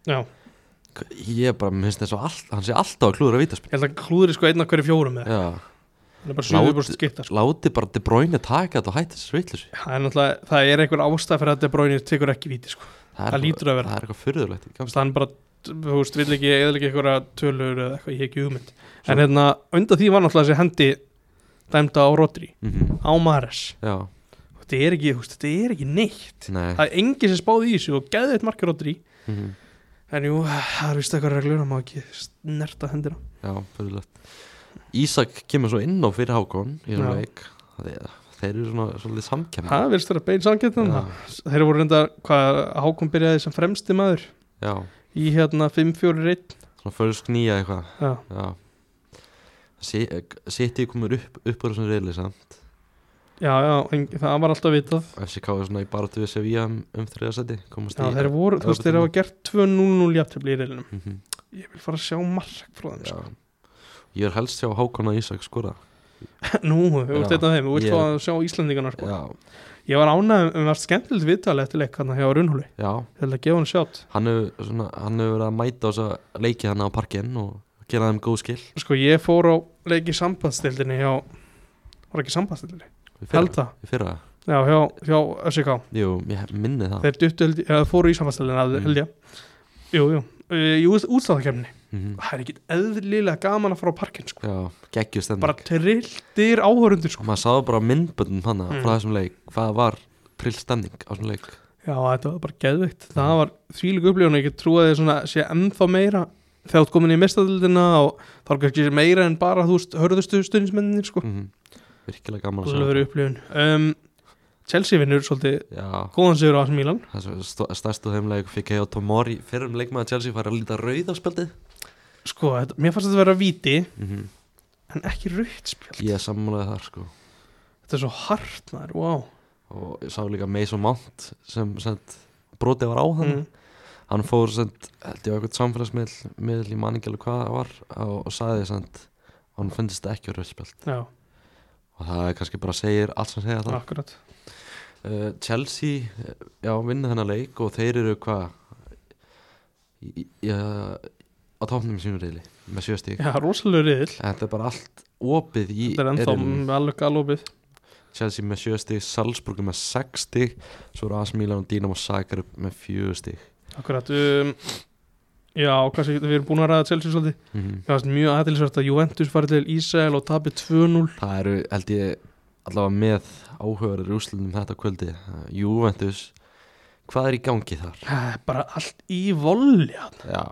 B: Já, ég
A: Ég bara, mér finnst þess að all, hann sé alltaf að klúra vítaspinu
B: held að klúðri sko einn af hverju fjórum með það.
A: Já,
B: Það er bara
A: Lát-
B: 7% skipta, sko.
A: láti bara De Bruyne taka þetta og hætti þessu vitleysu
B: Það er náttúrulega, það er einhver ástæð fyrir að De Bruyne tekur ekki víti, sko.
A: Það
B: Það
A: er
B: lítur
A: bara-
B: að vera.
A: það er eitthvað fyrðulegt
B: Þannig að hann bara, þú veist, vill ekki, eða ekki einhverja tölur eða eitthvað, ég hef ekki hugmynd. En hérna, undan því var náttúrulega þessi hendi dæmda á Rodri, á Mares.
A: Mhm. Já,
B: Þetta er ekki, þú veist, þetta er ekki neitt.
A: nei
B: Það er engin sem spáði í þessu og geðið eitt markið Rodri.
A: mhm.
B: En jú, það er vist eitthvað reglur, hann má ekki snerta hendina.
A: Já, fyrirlegt Ísak kemur svo inn á fyrir Hákon í þessum
B: Já.
A: leik þeir, þeir eru svona svolítið samkemmi
B: Það verðist vera bein samkjöndin
A: Já,
B: Þeir voru reyndar, hvað Hákon byrjaði sem fremsti maður
A: já,
B: í hérna 5-4-1
A: svona fölsk nýja eitthvað
B: Já,
A: Já Sitti komur upp, upp úr þessum reyli samt
B: já, já en, það var alltaf vitað
A: FCK er svona í baratu við Sevilla um, um þriðarsæti komast
B: Já,
A: í
B: þeir voru, þú veist, þeir hafa gert 2-0-0 jafntefli í reylinum
A: Mhm,
B: Ég vil fara að sjá mark frá þeim
A: Já
B: sko.
A: Ég er helst sjá Hákon og Ísak sko, skora
B: Nú, þú ert
A: Já,
B: þetta af þeim, þú vilt
A: ég-
B: fá að sjá Íslandingana sko.
A: Já,
B: Ég var ánægð, um varst skemmtilegt viðtal eftir leik hérna hjá Runhóli,
A: já
B: ég held að gefa hann sjátt
A: Hann hefur svona- hann hefur verið að mæta þess að leiki hann á parkinn og gera þeim góð skil
B: Sko, ég fór á leik í sambandstildinni hjá Var ekki sambandstildinni?
A: Í fyrra-
B: Held það,
A: Í fyrra
B: já, hjá, hjá SK
A: Jú, ég minni það
B: Þeir duttu held ég, eða fóru í samfæstalina
A: Mm.
B: held ég Jú, jú, Uh, í útstáðakefni
A: Mhm.
B: Það er ekkit eðlilega gaman að fara á parkinn sko.
A: Já, geggjur stending
B: Bara trilltir áhörundir sko.
A: Og maður sáðu bara á myndböndum hana
B: Mm.
A: frá þessum leik Hvað var prill stending á þessum leik
B: Já, þetta var bara geðvikt Það var þvílík upplifun, ég get trú að þið svona sé ennþá meira þegar þú ert komin í mestadildina og þá er kannski meira en bara þú veist, hörðustu stundinsmenninir sko.
A: mm Virkilega gaman að sjá
B: Glöður upplifun um, Chelsea vinnur svolítið
A: Já,
B: góðan sigur á þessum Mílan
A: það er svo stærstu heimleik Fikk ég á Tomori fyrrum leikmaður Chelsea fara að líta rauð á spjaldið
B: Sko, þetta, mér fannst þetta vera víti
A: mm -hmm.
B: en ekki rautt spjald
A: Ég sammálaði þar sko
B: Þetta er svo hart maður, wow
A: Og ég sá líka Mason Mount sem sent, brotið var á hann
B: mm.
A: Hann fór sent, held ég á eitthvað samfélagsmiðl miðl í manningjala hvað það var og, og sagði sent, hann fundist ekki á rauðspjald
B: Já,
A: og það er kannski bara segir allt sem segja það
B: akkurat
A: uh, Chelsea eh, já, vinna þennan leik og þeir eru hvað í- í- í- á topnum í sínum reyli með sjö stík
B: Já, rosalega riðil
A: þetta er bara allt opið í
B: Þetta er ennþá
A: riðlinum.
B: með alveg galopið
A: Chelsea með sjö stík, Salzburg er með sex stík svo eru Asmílan og Dínam og Sakar með fjögur stík
B: Akkurat um, Já, kannski við erum búin að ræða Chelsea svolítið
A: Mhm.
B: Það er mjög aðeinsvært að Juventus fari til Ísæl og tapi 2-0
A: Það eru, held ég, allavega með áhugaður úrslunum um þetta kvöldi Juventus, hvað er í gangi þar?
B: Það er bara allt í volja
A: Já,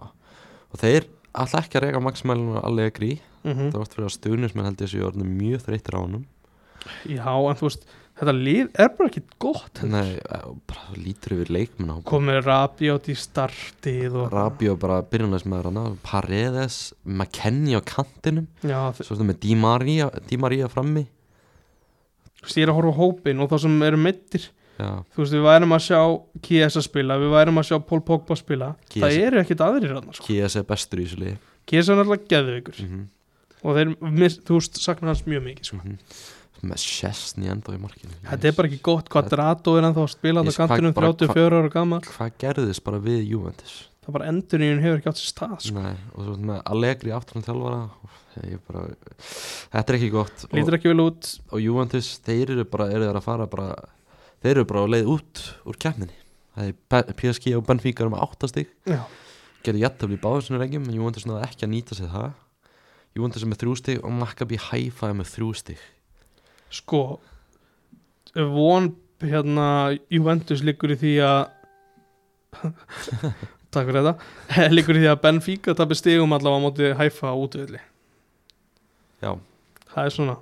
A: og þeir alltaf ekki að reyka maksmælun og allega grí
B: Mhm.
A: Það vart fyrir að stuðnismenn held ég séu orðinu mjög þreyttir á honum
B: Já, en þú veist, þetta lið er bara ekki gott
A: Nei, eh, bara þú lítur yfir leikmenn á
B: Komið Rabiot í startið og
A: Rabió bara byrjunleismæður hana Paredes, McKennie á kantinum
B: Já, þú
A: Svo er þetta með Di Maria, Di Maria frammi
B: veist, ég er að horfa á hópin og þá sem eru meittir
A: Já,
B: Þú veist, við værum að sjá Kiesa spila, við værum að sjá Paul Pogba spila Það
A: Chiesa.
B: eru ekkit aðrir hann sko.
A: Kies er bestur í þessu liði
B: Kiesa er náttúrulega geðveikur
A: mm -hmm.
B: og þeir, mis- þú veist, sakna hans mjög mikið sko.
A: mhm. Með Sjessni enda í markinu
B: Þetta er bara ekki gott, Quadrato er ennþá að spila
A: Ég-
B: þetta kantinum
A: hvað- bara-
B: 34 ára gamall
A: Hvað gerðist bara við Juventus?
B: Það bara enduníun hefur ekki átt sér stað sko.
A: Nei, og svo með Allegri afturinn þjálfara og ég bara, Þetta er ekki gott og,
B: Lítur ekki vel út
A: og Juventus, þeir eru bara eru þeir að fara bara þeir eru bara á leið út úr keppninni Það er Be- PSG og Benfica um áttastig
B: Já,
A: getur jættafli í báðum sinni regjum en Juventus náði ekki að nýta sér það Juventus er með þrjú stig og Maccabi Haifa er með þrjú stig
B: sko von hérna Juventus liggur í því að Takk fyrir þetta Eh, liggur í því að Benfica tapir stigum allavega á móti hæfa útvöldi
A: Já,
B: Það er svona,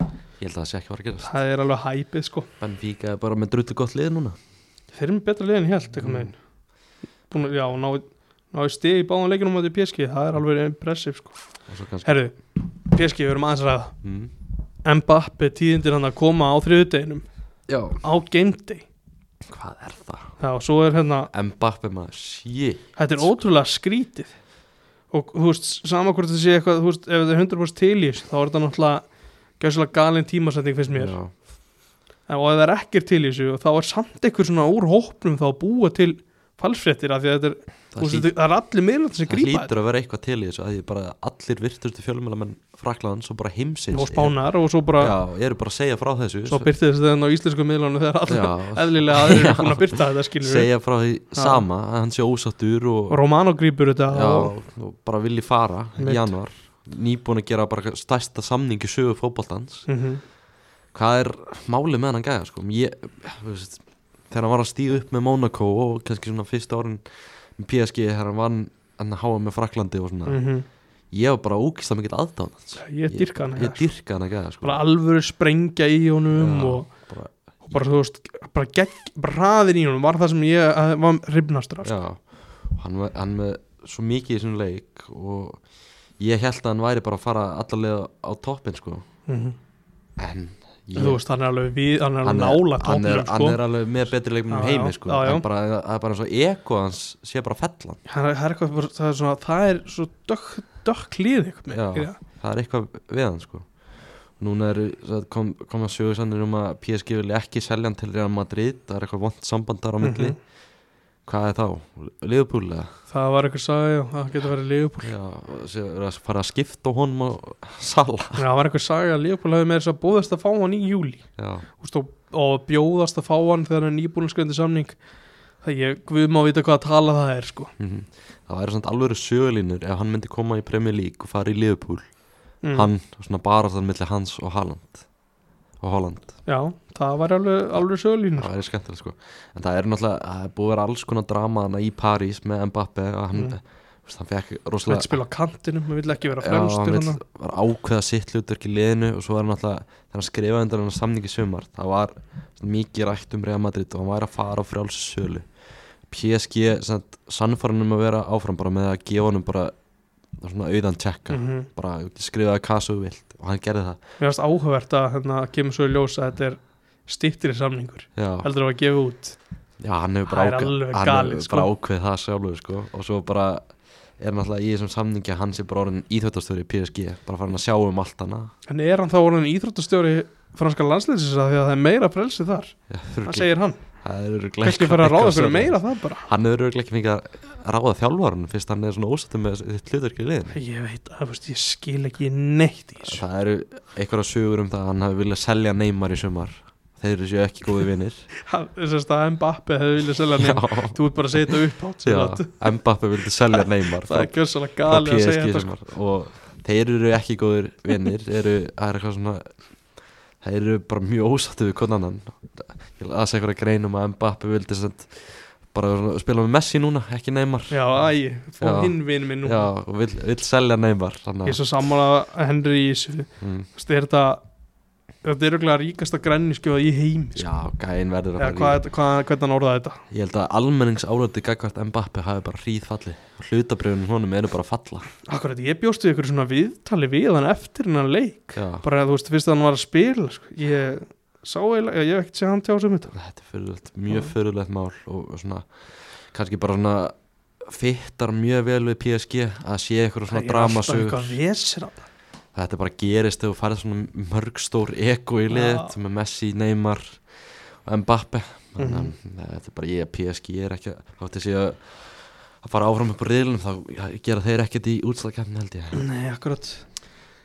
A: ég held að það sé ekki að fara að gerast
B: það er alveg hæpið sko
A: Benfica er bara með drullu gott lið núna
B: Þeir eru með betra liðin helt eitthvað
A: Mm.
B: megin Búin, að- Já, ná, ná í stig í báðan leikinum á móti PSG, það er alveg impressiv sko
A: og svo kannski
B: Herðu, PSG, við erum aðeins að ræða
A: mm.
B: Mbappe tíðindir hann að koma á þriðudeginum
A: Já,
B: á gameday
A: hvað er það?
B: Já, og svo er hérna
A: Mbappe maður, shit
B: Þetta er ótrúlega skrítið og þú veist, sama hvort það sé eitthvað þú veist, ef þetta er 100% til í þessu þá er þetta náttúrulega gæslega galin tímasetning finnst mér,
A: Já,
B: en, og ef það er ekkert til í þessu og þá er samt einhver svona úr hópnum þá að búa til falsfréttir af því að þetta er, þú
A: það
B: veist,
A: hlýtur
B: þetta- það er allir miðlandi sem
A: Það
B: grípa þetta
A: hlýtur að vera eitthvað til í þessu að því bara allir virtustu fjölmjölamenn Fraklands og bara heimsins
B: og spánar og svo bara,
A: Já, ég eru bara að segja frá þessu
B: svo byrti þessi þetta á íslensku miðlunum þegar allir
A: Já,
B: eðlilega aðrir
A: Já.
B: er búin að byrta þetta skilur við.
A: segja frá því
B: Já.
A: sama að hann sé ósattur og,
B: og Romano grípur þetta
A: já,
B: og,
A: og bara vilji fara
B: Einmitt.
A: í januar nýbúin að gera bara stærsta samningi sögu fótballtans
B: mm
A: hvað er málið með hann gæða sko? ég, þú veist, þegar hann var að stíða upp með Monaco og kannski svona fyrsta árin með PSG þegar hann vann hann að háa með Fraklandi og
B: Mm.
A: svona ég var bara ógist að mikill aðdáðan hans
B: mhm. ég hérna. dyrka hann
A: ég
B: ég,
A: dyrka hann að gæða sko.
B: bara alvöru sprengja í honum
A: Já.
B: og
A: bara,
B: og bara þú veist, bara, gegg, bara hraðin í honum var það sem ég að, var hrifnastur af sko.
A: já, Og hann, var- hann með svo mikið í þessum leik og ég held að hann væri bara að fara allalega á toppin sko.
B: Mhm.
A: en ég,
B: þú veist, hann er alveg við, hann er alveg
A: hann
B: nála
A: hann er,
B: tóknum
A: hann
B: sko.
A: er alveg með betri leikmennum
B: Já,
A: í heimi
B: já,
A: sko.
B: já, já.
A: En bara, það er bara eins og eko hans sé bara fellan
B: Hann er, það er eitthvað, bara- það er svona það er svo dökk, dökk lið eitthvað með,
A: Já.
B: ekki það?
A: það er eitthvað við hann sko. núna eru, það kom, kom að sögu sannir um að PSG vilja ekki selja hann til Real Madrid það er eitthvað vond samband þar á milli
B: Mhm.
A: hvað er þá? Liverpool eða?
B: það var eitthvað sagði, já, það getur verið Leopold
A: Já, og sé- eru að fara að skipta honum og sala
B: það var eitthvað sagði að Leopold hefði með þess að búðast að fá hann í júli
A: Já,
B: Úst, og, og bjóðast að fá hann þegar hann er nýbúin skrindi samning það ég, við má vita hvað að tala það er sko.
A: mhm. það væri svona alveg sögulínur ef hann myndi koma í Premier League og fara í Liverpool
B: mm.
A: hann, svona barastan milli hans og Haaland og Holland
B: já, það var alveg, alveg sölínur
A: Það er skemmtilegt sko En það er náttúrulega, það er búið að vera alls konar drama hana í París með Mbappe og hann,
B: Mm.
A: mm. veist, hann fekk
B: hann vil
A: rosalega
B: spila á kantinum, hann vil ekki vera
A: Já, hann
B: fremstur
A: vill-
B: hann
A: var ákveða sitt hlutverk í liðinu og svo er hann náttúrulega, þegar hann skrifaði undir hann samningi í sumar, það var svona mikið rætt um Real Madrid og hann væri að fara á frjálsu sölu PSG sannfæranum um að vera áfram bara með að gefa honum bara svona auðan tjekka
B: mm -hmm.
A: bara skrifaði hvað svo þú vilt og hann gerði það
B: Mér finnst áhugavert að hérna kemur svo í ljós að þetta er stýttir samningur
A: Já.
B: heldur að gefa út
A: Já, hann hefur
B: Það er
A: bara, ákveð,
B: alveg
A: hann
B: galið,
A: hefur
B: sko.
A: bara ákveð það sjálfur sko. og svo bara er náttúrulega í þessum samningi að hann sé bara orðin íþjóttastöri í PSG, bara farin að sjá um allt hana
B: en er hann þá orðin íþróttastjóri franska landsleysins að því að það er meira frelsi þar það segir hann, kannski fyrir að ráða fyrir meira það bara
A: Hann hefur örugglega ekki fengið að ráða þjálfarun fyrst hann er svona ósættum með þitt hlutverk í liðin
B: ég veit, það, veist, ég skil ekki neitt í þessu
A: Það eru einhverja sögur um það að hann hafi viljað selja neymar í sumar þeir eru séu ekki góði vinnir
B: þess að Mbappi hefði viljað selja Neymar þú ert bara að setja upp átt sem þetta.
A: Mbappi vildi selja Neymar
B: það
A: frá,
B: er gjössalega
A: frá
B: gali að segja
A: PSG
B: þetta sko.
A: sumar og þeir eru ekki góðir vinnir eru, það er eitthvað svona þeir eru bara mjög ósattu við konan annan ég las einhverja grein um að Mbappi vildi sent, bara svona spila með Messi núna, ekki Neymar
B: já, æ, fá
A: Já.
B: hinn vinn minn nú
A: Já, og vill, vill selja Neymar
B: ég
A: þannig
B: er svo sammála Henry í þessu
A: að mm,
B: Þú veist, er þetta þetta er auðvitað ríkasta græniskjóða í heim sko.
A: já, gæinn verður að
B: eða
A: fara í-
B: hvað, þetta- hvað, hvernig hann orðaði þetta
A: Ég held að almenningsálöti gagvart Mbappi hafi bara hríð falli og hlutabriðunum honum eru bara að falla
B: akkurat, ég bjóst við ykkur svona viðtali við hann eftir hennan leik
A: Já,
B: bara þú veist, fyrst að hann var að spila sko. ég sá eiginlega, ég hef ekkert séð hann tjá sem þetta
A: þetta er fyrirlegt, mjög
B: Já.
A: fyrirlegt mál og svona, kannski bara svona fittar mjög vel við PSG að sé eitthvað svona dramasögur
B: eitthvað vesir á
A: þetta bara gerist þegar þú farið svona mörgstór ego í
B: Já.
A: liðt með Messi, Neymar og Mbappe þannig að
B: Mhm.
A: þetta er bara ég að PSG er ekki að- þótti sé að að fara áfram upp á riðlunum þá gera þeir ekkert í útslagkefni held ég
B: nei, akkurat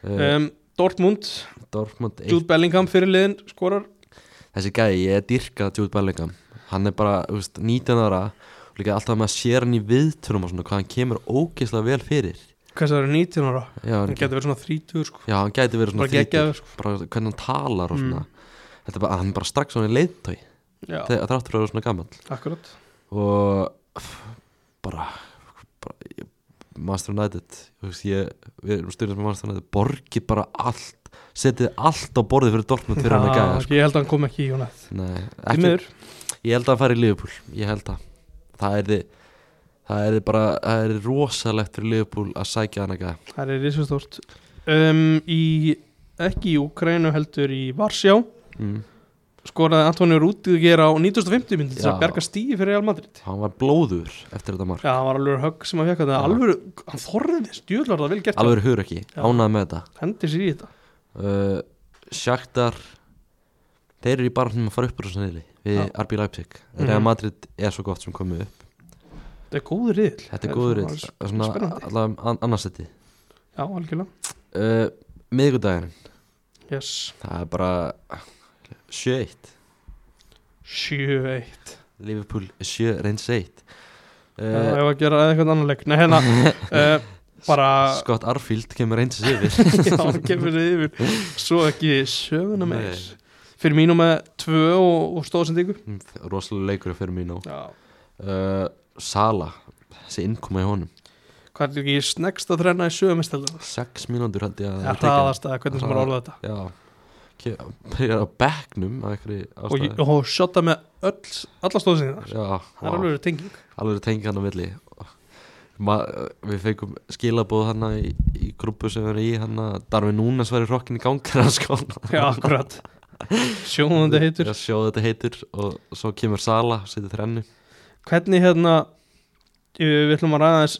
A: uh,
B: um, Dortmund,
A: Dortmund 1
B: Jude Bellingham fyrir liðin skorar
A: þessi gæi, ég er dyrkað Jude Bellingham hann er bara, þú veist, 19 ára og líka alltaf með að sér hann í viðtunum og svona hvað hann kemur ógeðslega vel fyrir
B: hvað það eru 19 ára
A: já,
B: hann getur verið svona 30 sko.
A: já, hann gæti verið svona
B: bara geggjaður sko.
A: bara hvernig hann talar og
B: Mm.
A: svona þetta er bara, hann er bara strax svona leiðtói
B: já,
A: þráttur að vera svona gammal
B: akkurat
A: og bara, bara ég, Master United þú veist, ég, við erum styrjast með Master United borgi bara allt setið allt á borðið fyrir Dortmund fyrir hann að
B: Já,
A: gæja sko.
B: ég held að hann kom ekki í hún
A: Nei, ekki,
B: eftir
A: Ég held að hann fari í Liverpool, ég held að Það er þið Það er bara, það er rosalegt fyrir Liverpool að sækja hann eitthvað
B: það er risastórt um, í, ekki í Ukraínu heldur í Varsjá
A: mm.
B: skoraði Antonio Rúdiger á 1950 myndi til
A: Já.
B: að berga stífi fyrir Real Madrid
A: Hann var blóður eftir þetta mark
B: Já, það var alveg högg sem að fekka þetta
A: Já.
B: alveg, hann þorði stjórnlar það vel gert
A: Alveg hur ekki,
B: Já.
A: ánað með þetta
B: hendi sér í þetta
A: uh, Shakhtar Þeir eru í barnum að fara upp úr þessu neðli Við
B: Já.
A: RB Leipzig
B: Mhm.
A: Real Madrid er svo gott sem komið upp
B: þetta er góður riðil
A: Þetta er góður
B: svona-
A: reitt Svona
B: spennandi.
A: allavega annarsetti
B: Já, algjörlega
A: uh, Miðgudaginn
B: yes.
A: Það er bara 7-1
B: 7-1
A: Liverpool 7-1 Eh.
B: Já,
A: Uh,
B: ég var að gera eitthvað annan leik Nei, hérna uh, bara
A: Scott Arfield kemur eins og yfir
B: Já, hann kemur þið yfir Svo ekki söguna
A: Nei.
B: meir Fyrir mínu með tvö og, og stóðsendingu
A: rosalega leikur fyrir mín á
B: Já
A: uh, Sala, þessi innkoma í honum
B: Hvað er ekki snegst að þrenna í sögumistelðum?
A: 6 mínútur held ég að
B: Það
A: hafi
B: er
A: tekið hann.
B: hraðast að hvernig sem er orðað þetta
A: já, Ke- byrjar á bekknum af einhverju ástæðu
B: og, og shotta með öll, alla stóðsendingar
A: já,
B: Það er
A: vá,
B: alveg tenging
A: alveg tengið hann á milli Ma, við fengum skilaboð hann í, í grúpu sem er í hann Darfi Núnes var í rokkin í gangi hann sko
B: Já, akkurat Sjóðandi heitur
A: Já, sjóðu þetta heitur og svo kemur Sala, setur þrennu
B: Hvernig hérna eh, Við ætlum að ræða þess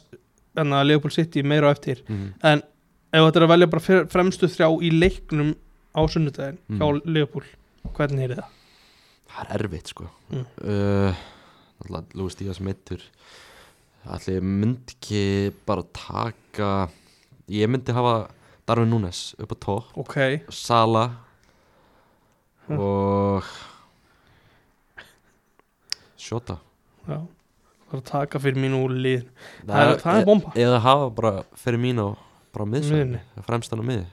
B: hérna, Leopold City meira á eftir
A: mm.
B: En ef þetta er að velja bara fyr- fremstu þrjá í leiknum á sunnudaginn
A: Mm.
B: hjá Leopold Hvernig er það?
A: Það er erfitt sko
B: Mm.
A: uh, Náttúrulega Lúi Stígas meittur Ætli ég myndi ekki bara taka Ég myndi hafa Darvin Núnes upp á tó
B: Ok,
A: Sala
B: Hm.
A: Og Shota
B: já Það er að taka fyrir mínu úr liðin Það er, það er bomba
A: e Eða hafa bara fyrir mín á bara miðsvæðinu,
B: Miðjunni.
A: fremstan á miði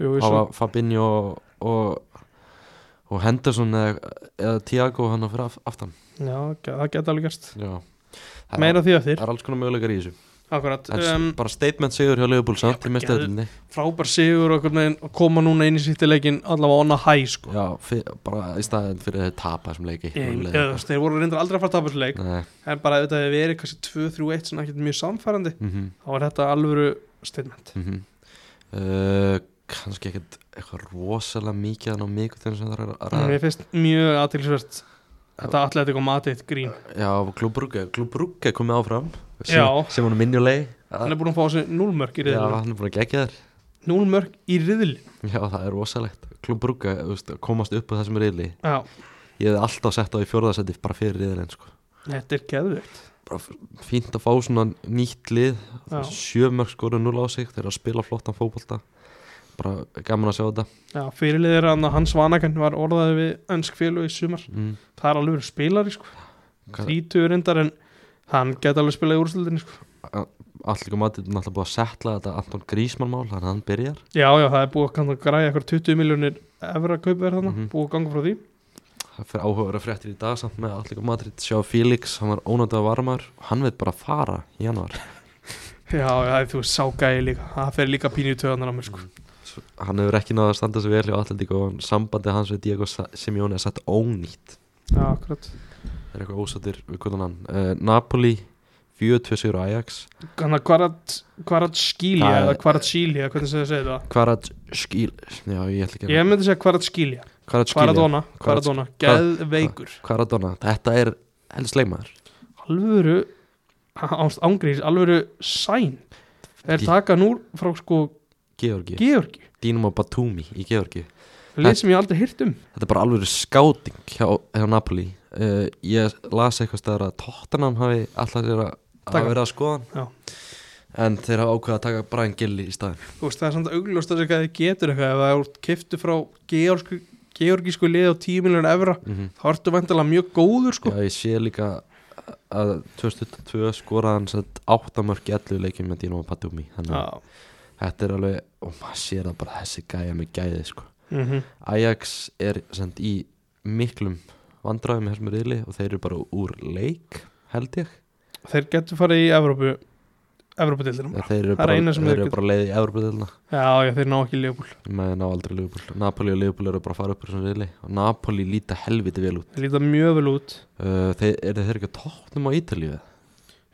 B: Jú, ég
A: hafa
B: svo-
A: Fabinho og, og, og Henderson eða, eða Thiago hann á fyrir af- aftan
B: Já, ge- það geta alveg gerst
A: Já Það er-
B: Meira því að þér
A: Það er alls konar möguleikar í þessu
B: Akkurat
A: Þetta
B: um,
A: er Bara statement sigur hjá Leopold samt í mesta öllunni
B: Frábær sigur og einhvern veginn að koma núna inn í sýttileikin allavega onna hæ sko
A: Já, fyr, bara í staðin fyrir að þeir tapa þessum leiki
B: Ég-
A: Mögulega.
B: eða, þú veist, Þeir voru reyndar aldrei að fara að tapa þessu leik
A: Nei,
B: En bara ef þetta hefði verið kannski 2-3-1 svona ekkert mjög samfærandi
A: mhm,
B: Þá var þetta alvöru statement
A: mhm Uh, Kannski ekkert eitthvað rosalega mikið hann á mig þegar sem það er að ræða
B: Mér finnst mjög aðtilsvert Þetta allir þetta koma aðeitt grín
A: Já, Glúbrúke, Glúbrúke komið áfram
B: Já.
A: Sem hann minjulegi
B: Hann
A: Já,
B: er búin að fá þessu núlmörk í riðlun
A: hann er búin að gegja þér
B: Núlmörk í riðlun
A: Já, það er rosalegt Glúbrúke, þú veist, að komast upp á þessum riðli
B: Já,
A: Ég hefði alltaf sett á í fjórðasetti bara fyrir riðlinn, sko
B: þetta er geðvögt
A: bara f- fínt að fá svona nýtt lið
B: Já.
A: sjö mörg skoru núl á sig þeir eru að spila flottan fótbolta bara gaman að sjá þetta
B: Já, fyrirliðir hann að Hans Vanagan var orðaði við önsk félög í sumar
A: mm.
B: það er alveg verið spilari sko
A: Hvað-
B: 30 reyndar en hann geta alveg spilað í úrslutinni sko
A: Allir kom aðeins náttúrulega búið að setla þetta Anton Grísmann mál, þannig að hann byrjar
B: Já, já, það er búið að kannski græja eitthvað 20 miljónir efra kaupverð þarna,
A: Mhm.
B: búið að ganga frá því
A: Það fyrir áhugaverða fréttir í dag samt með Allir kom aðeins sjá Félix, hann var ónættu að varmar Hann veit bara fara í januar
B: Já, já, þú veist, ságæði líka það fer líka pínu í töðanar á mér sko
A: Svo- Hann hefur ekki náða að standa sig vel hjá Atletík og sambandi hans við Diego Sa- Simeone er satt ónýtt
B: Já, akkurat
A: Það er eitthvað ósattir við hvernig hann uh, Napoli, 4-2 sigur á Ajax
B: Þannig að Kvarat Skílja
A: Það-
B: eða Kvarat Skílja, hvernig sem þið segir það
A: Kvarat skil Já, ég ætla ekki
B: Ég myndi segja Kvarat Skílja,
A: Kvarat skil
B: Kvaradona Kvaradona,
A: Kvarat-
B: geðveikur
A: Kvaradona Þetta er helst leikmaður
B: alvöru ánst ángrís, alvöru sæn er
A: Ge-
B: taka núr frá sko
A: Georgi
B: Georgi,
A: Dinamo Batumi í Georgi
B: lið sem ég aldrei hýrt um
A: Þetta er bara alveg skáting hjá, hjá Napoli uh, Ég las eitthvað stæðar að Tottenham hafi alltaf sér að
B: Taka.
A: hafa verið að skoðan
B: Já.
A: En þeir hafa ákveða að taka Brian Gilly í staðin
B: Þú veist, það er samt augljóst að það getur eitthvað ef það er kiftu frá georgsku, georgísku lið á 10 miljonar evra þá ertu vantilega mjög góður sko
A: Mhm. Já, ég sé líka að 2002 skoraði hann sett 8 mörg í 11 leikjum með Dinamo Batumi Þannig að
B: Já,
A: þetta er alveg, og maður sér það bara þessi gæja með gæði sko
B: mhm,
A: Ajax er sent í miklum vandræðum í þessum riðli og þeir eru bara úr leik held ég
B: Þeir getur farið í Evrópu Evrópudildinum
A: Eða þeir eru
B: Það er
A: bara,
B: eina sem
A: þeir
B: þeir
A: eru
B: geta-
A: bara leið í Evropadelna
B: Já, já, þeir ná ekki Leopold
A: með ná aldrei Liverpool Napoli og Liverpool eru bara að fara upp úr þessum riðli og Napoli líta helviti vel út
B: Þeir líta mjög vel út
A: uh, þeir, eru þeir ekki að tóknum á Ítalíu eða?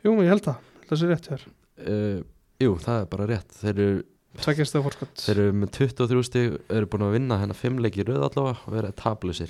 B: Jú, ég held það, Ég held það sé rétt hér
A: uh, jú, það er bara rétt þeir eru,
B: Tvekkjast það fórskott
A: þeir eru með 23 stig eru búin að vinna hennar 5 leiki í röð allavega og vera tablusir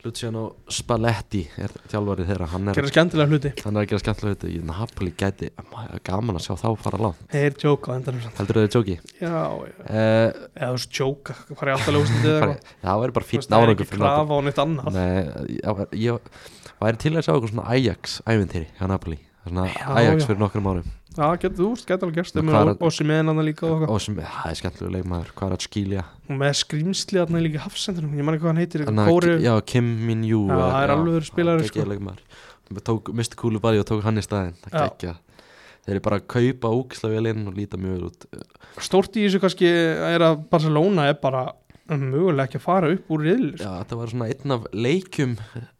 A: Luciano Spalletti er þjálfarið þeirra hann er,
B: Gerða skemmtilega hluti
A: hann er að gera skemmtilega hluti. Ég- Napoli gæti maður, gaman að sjá þá fara langt
B: Þeir tjóka á endanum samt
A: Heldur þau að það er jóki?
B: Já, já
A: Uh,
B: eða þú veist tjóka, farið alltaf ljósandi eða eitthvað
A: það væri bara
B: Þú veist,
A: fýtt
B: það er ekki
A: nárangur fyrir Napoli
B: krafa á neitt annað
A: Nei, ég, var- ég væri til að sjá eitthvað svona Ajax æventýri hjá Napoli Svona
B: Já,
A: Ajax
B: já.
A: fyrir nokkrum árum
B: já, getur þú, úst, getur alveg gerst
A: Nú,
B: um
A: hvar-
B: og sem meðan hann líka og eitthvað
A: Og sem, það er skemmtilega leikmaður, hvað er að skilja
B: og með skrýmsli hann líka í hafsendunum ég man ekki hvað hann heitir,
A: Anna,
B: Kóri
A: Já, Kim Min-Jú
B: Já, það er alvöru spilari,
A: sko
B: sko.
A: leikmaður Tók Mr. Kúlu bari og tók hann í staðinn Það
B: Já.
A: gekkja Þeir eru bara að kaupa ógisla vel inn og líta mjög vel út
B: stórt í þessu kannski er að Barcelona er bara mögulega ekki að fara upp úr sko. riðl
A: Já, þetta var svona einn af leikjum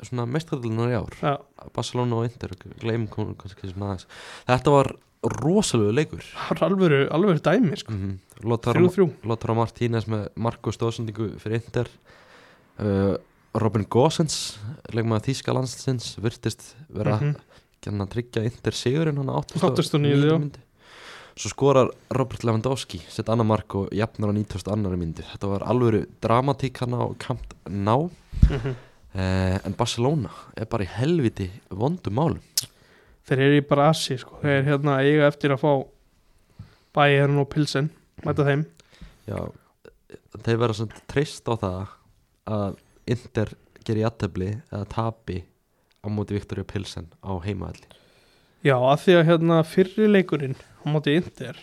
A: svona mestradlunar í ár
B: já,
A: Barcelona og Inter, gleymum kom- kannski svona aðeins Þetta var rosalegu leikur
B: það er alvöru, alvöru dæmi sko.
A: mm -hmm. Lotaro,
B: þrjú þrjú,
A: Lotaro Martínez með Marko Stóðsendingu fyrir Inter uh, Robin Gossens leikmaður Þíska landsins virtist vera mm
B: Mhm.
A: að tryggja Inter sigurinn hann á
B: 89, já.
A: mínútu. Svo skorar Robert Lewandowski sett annar mark og jafnar á 92. myndu Þetta var alvöru dramatík hann á kamp ná
B: Mhm.
A: Uh, en Barcelona er bara í helviti vondum málum
B: þeir eru í Brasi sko. þeir eru hérna að eiga eftir að fá Bayern og Pilsen mæta þeim,
A: Já, þeir verða svona treyst á það að Inter gerir jættefli eða tapi á móti Viktoria Pilsen á heimaðalli
B: já, að því að hérna fyrri leikurinn á móti Inter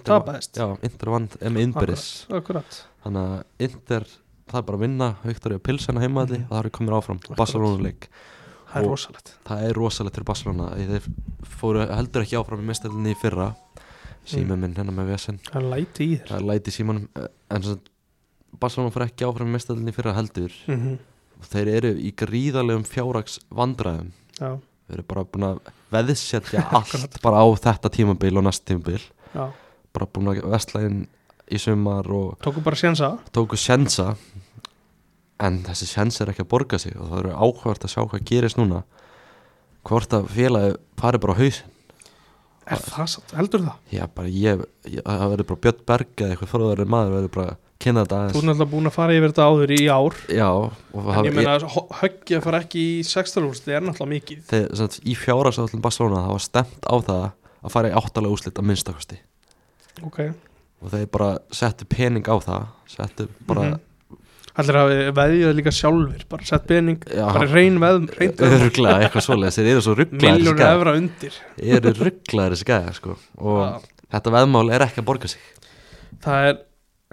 B: Tapaðist.
A: Já, Inter vann eh, með innbyrðis
B: akkurat
A: Þannig að Inter það er bara að vinna Viktoria Pilsen á heimaðalli
B: Mhm.
A: og það eru komin áfram
B: Akkurat.
A: Barcelona-leik
B: það er
A: Og-
B: rosalegt
A: Það er rosalegt fyrir Barcelona því þeir fóru heldur ekki áfram í mestælinni í fyrra sími minn hennar með vesen
B: það er læti í þér
A: það er læti í símanum eh, en sem sagt, Barcelona fór ekki áfram í mestælinni í fyrra heldur
B: Mhm.
A: þeir eru í gríðarlegum fjárrags vandræðum
B: já,
A: þeir eru bara búin að veðsetja allt bara á þetta tímabil og næst tímabil
B: já
A: bara búin að vesla inn í sumar og
B: tóku bara sénsa
A: tóku sjensa en þessi sjens er ekki að borga sig og það eru áhverð að sjá hvað gerist núna hvort að félagi fari bara á hausinn
B: er það satt, heldur það?
A: já bara ég, ég það verður bara Björn Berg eða eitthvað fórðarinn maður verður bara að kynna þetta
B: Þú er
A: aðeins
B: náttúrulega búin að fara yfir þetta áður í ár
A: já og
B: En
A: það
B: ég meina að höggja fara ekki í sextalúrst Það er náttúrulega mikið
A: þegar, sem sagt, í fjárhagsállum Barcelona það var stemt á það að fara í áttalega úslit að minnstakosti
B: Ok
A: og þeir bara settu pening á það settu bara
B: Mhm. Allir hafi veðjað líka sjálfur Bara sett bening
A: já,
B: Bara reyn veð Reynt veð
A: örgla eitthvað svoleiðis þeir eru svo rugglaðir
B: Miljónir evra undir
A: eru rugglaðir þessi gæða sko. og
B: Já.
A: þetta veðmál er ekki að borga sig
B: Það er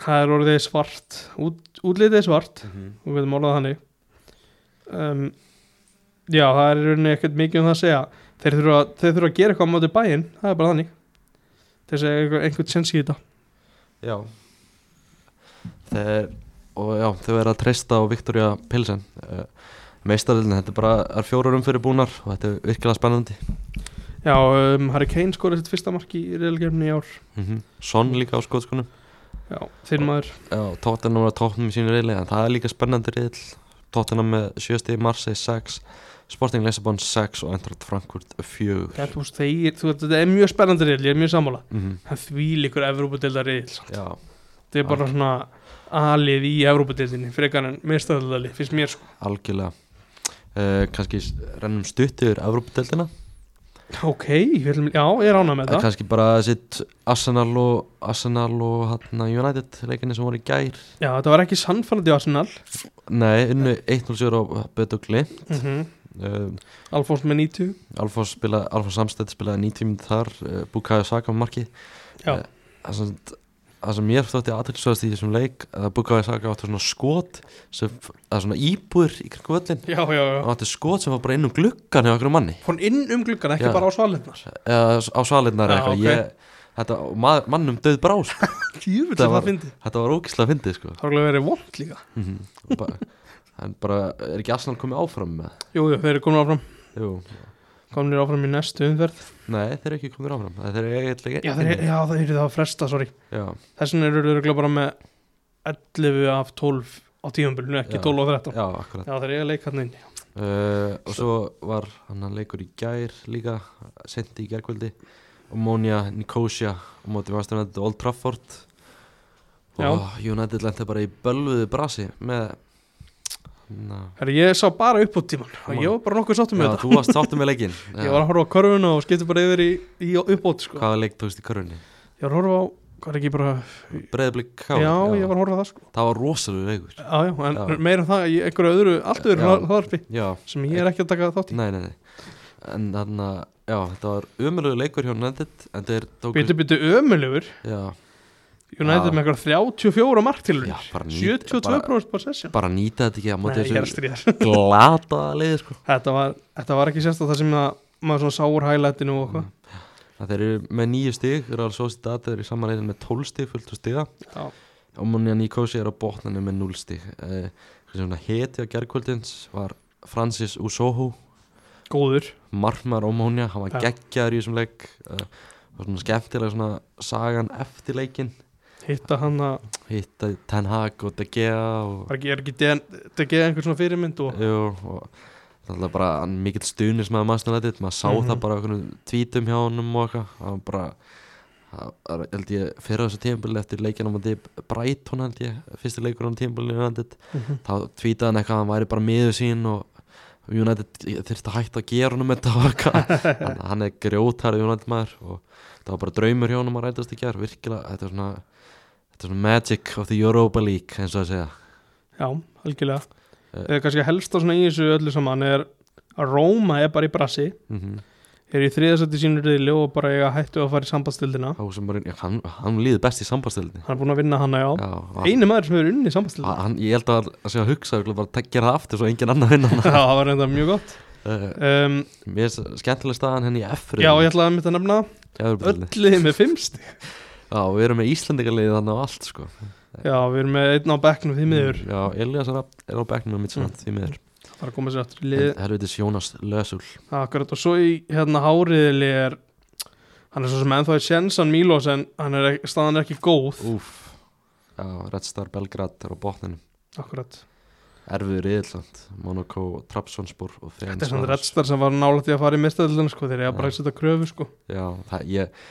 B: það er orðið svart Út, útlitið er svart
A: mm -hmm.
B: og við getum orðað þannig um, já, það er í rauninni ekkert mikið um það að segja þeir þurfa, þeir þurfa að gera eitthvað á móti bæinn það er bara þannig þess að einhver, einhvern sens í þetta
A: Já Þeir, og já, þau verða að treysta á Viktoria Pilsen uh, meistarlinn, þetta er bara er fjórar umfyrir búnar og þetta er virkilega spennandi
B: já, um, Harry Kane skorið sitt fyrsta mark í reylgerfni í ár
A: mm Son líka á skotskonu
B: já, þinn maður,
A: Já, Tottenham var tóknum í sínu reyli en það er líka spennandi reyl Tottenham með 7 stig, Marseille 6 Sporting Lissabon 6 og Eintracht Frankfurt 4
B: þetta, þú veist, þeir, þú, veist, þetta er mjög spennandi reyl, ég er mjög sammála
A: mm -hmm.
B: það því líkur Evrópadeildar reyl
A: Já,
B: þetta er bara svona alið í Evrópadeildinni frekar en meðstæðaldali, finnst mér sko
A: algjörlega uh, kannski s- rennum stutt yfir Evrópudeldina
B: ok, við ætlum, já, ég er ánað með
A: Það er Eh,
B: það
A: kannski bara sitt Arsenal og, Arsenal og hana, United leikinni sem voru í gær
B: já, þetta var ekki sannfærandi Arsenal
A: Nei, unnu 1-0-7 á Bödugli
B: mm
A: uh,
B: Alfons með 90
A: Alfons, spila, Alfons Samstedt spilaði 90 minn þar uh, Bukayo Saka með marki
B: Já.
A: Eh, Það sem, það sem mér þótti aðtilsvæðast í þessum leik að Bukayo Saka átti svona skot sem, það er svona íbúður í kringu völlin
B: já, já, já
A: og átti skot sem var bara inn um gluggan hjá okkur manni
B: Fór inn um gluggan, ekki
A: Já.
B: bara á svalinnar
A: eða s- á salinnar
B: Já,
A: eitthvað
B: ok.
A: ég, þetta, og maður, mannum döð brá sko.
B: Jöfull
A: Það
B: sem
A: var-
B: það fyndi
A: þetta var ógislega fyndið sko.
B: Það var alveg verið vond líka
A: Mhm. Og bara, en bara er ekki Arsenal komið áfram með
B: Jú, jú, þeir eru komin áfram
A: Jú.
B: Komin áfram í næstu umferð
A: nei þeir eru ekki komið áfram þeir eru eiginlega
B: Já, þeir, já það eru það að fresta, sorry
A: já,
B: Þess vegna eru þeir örugglega bara með 11 af 12 á tíðanbylnu Ekki
A: Já.
B: 12 og 13 Já,
A: já akkurat
B: já þeir eru að leika hann inn
A: uh, og svo var hann að leikur í gær líka sendi í gærkvöldi og Mónia Nikosia og móti Master United og Old Trafford og United lendi bara í bölvuðu brasi með na,
B: Herri, ég sá bara upp á tíman
A: Come
B: Og
A: on.
B: ég var bara nokkuð sáttum
A: já,
B: með þetta
A: þú varst sáttum með leikin
B: Ég var að horfa á körfuna og skipti bara yfir í, í uppbót sko.
A: hvaða leik tókst í körfunni
B: Ég var að horfa á, hvað er ekki bara
A: Breiðablík K
B: Já, ég var að horfa á það sko
A: það var rosalega leikur
B: Já, já, en
A: Já.
B: meira um það, í einhverju öðru, allt öðru
A: Já.
B: hlaðarpi
A: já,
B: sem ég er ekki að taka þátt í
A: nei, nei, nei en þannig að, já, þetta var umöluðu leikur hjá United en þeir tóku
B: Bitu, bitu ömulegur
A: já,
B: United
A: Já.
B: með eitthvað 34 marktilur
A: já, bara nýta
B: 72
A: bara,
B: bróðs possession
A: bara nýta þetta ekki á
B: Nei,
A: móti
B: ég er að
A: þessu
B: stríða þér.
A: glata leiði sko
B: þetta, var, þetta var ekki sérst að það sem að, maður svona sáur highlightinu og
A: Mm. það þeir eru með nýju stig þeir eru alveg svo stíð þeir eru samanlegin með 12 stig fullt og stiga
B: eitthvað
A: og Munja Nikosi er á botninu með 0 stig eh, hversu svona heti á gerðkvöldins var Francis Usoho
B: Góður
A: marmar og Mónja, hann var
B: Já.
A: geggjaður í þessum leik uh, og svona skemmtilega svona sagan eftir leikin
B: Hitta hann að,
A: hitta Ten Hag og De Gea og,
B: var ekki, er ekki þetta geða einhver svona fyrirmynd og
A: jú, og það er bara hann mikill stuðnir sem að maður stundið maður sá
B: Mhm.
A: það bara okkur tvítum hjá honum og eitthvað það var bara það var, held ég, fyrir þessu tímbili eftir leikina á móti Brighton held ég fyrsti leikur á tímbili United
B: Mhm.
A: þá tvítaði hann eitthvað að hann væri bara miður sín og United þurfti að hætta að gera honum þetta og eitthvað hann, hann er grjótarð United maður og það var bara draumur hjá honum að rætast í gær virkilega, þetta er svona þetta er svona magic of the Europa League eins og að segja
B: já, algjörlega
A: Eh.
B: eða kannski helsta svona í þessu öllu saman er að Róma er bara í brassi
A: mm
B: er í þriðasætti sínur reyðli og bara eiga hættu að fara í sambandstildina
A: Þá sem bara, já, hann, hann líður best í sambandstildinni
B: hann er búin að vinna hana, já,
A: Já, Ah. og
B: eini maður sem hefur unni sambandstildina
A: hann, ég held að hann sé að hugsa örugglega bara að gera það aftur svo engin annar vinna
B: Já, það var reynda mjög gott
A: uh,
B: um,
A: Mér er skemmtilega staðan henni í F-ru
B: Já, ég ætlaði að mynda að nefna það.
A: ætla
B: öll liðið með fimmst
A: Já, við erum með Íslandingarliðið þannig á allt sko
B: Já, við erum með einn á bekknum því miður
A: Já, Elias er, að- er á bekknum með mitt svona því miður
B: Það er að koma sér aftur í liðið
A: En Helvitis Jónas Lösul
B: Akkurat, og svo í hérna háriðli er Hann er svo sem ennþá er sjensan Mílos en hann er, ekki- staðan er ekki góð
A: Úf Já, Red Star Belgrad er á botninu
B: Akkurat,
A: Erfiður Íðland, Monaco, Trabzonspor og
B: þetta er
A: Ferencváros.
B: svona redstar sem var nálægt í að fara í mistæðlun sko Þeir eru bara
A: Já.
B: að setja kröfu sko
A: Já, það, ég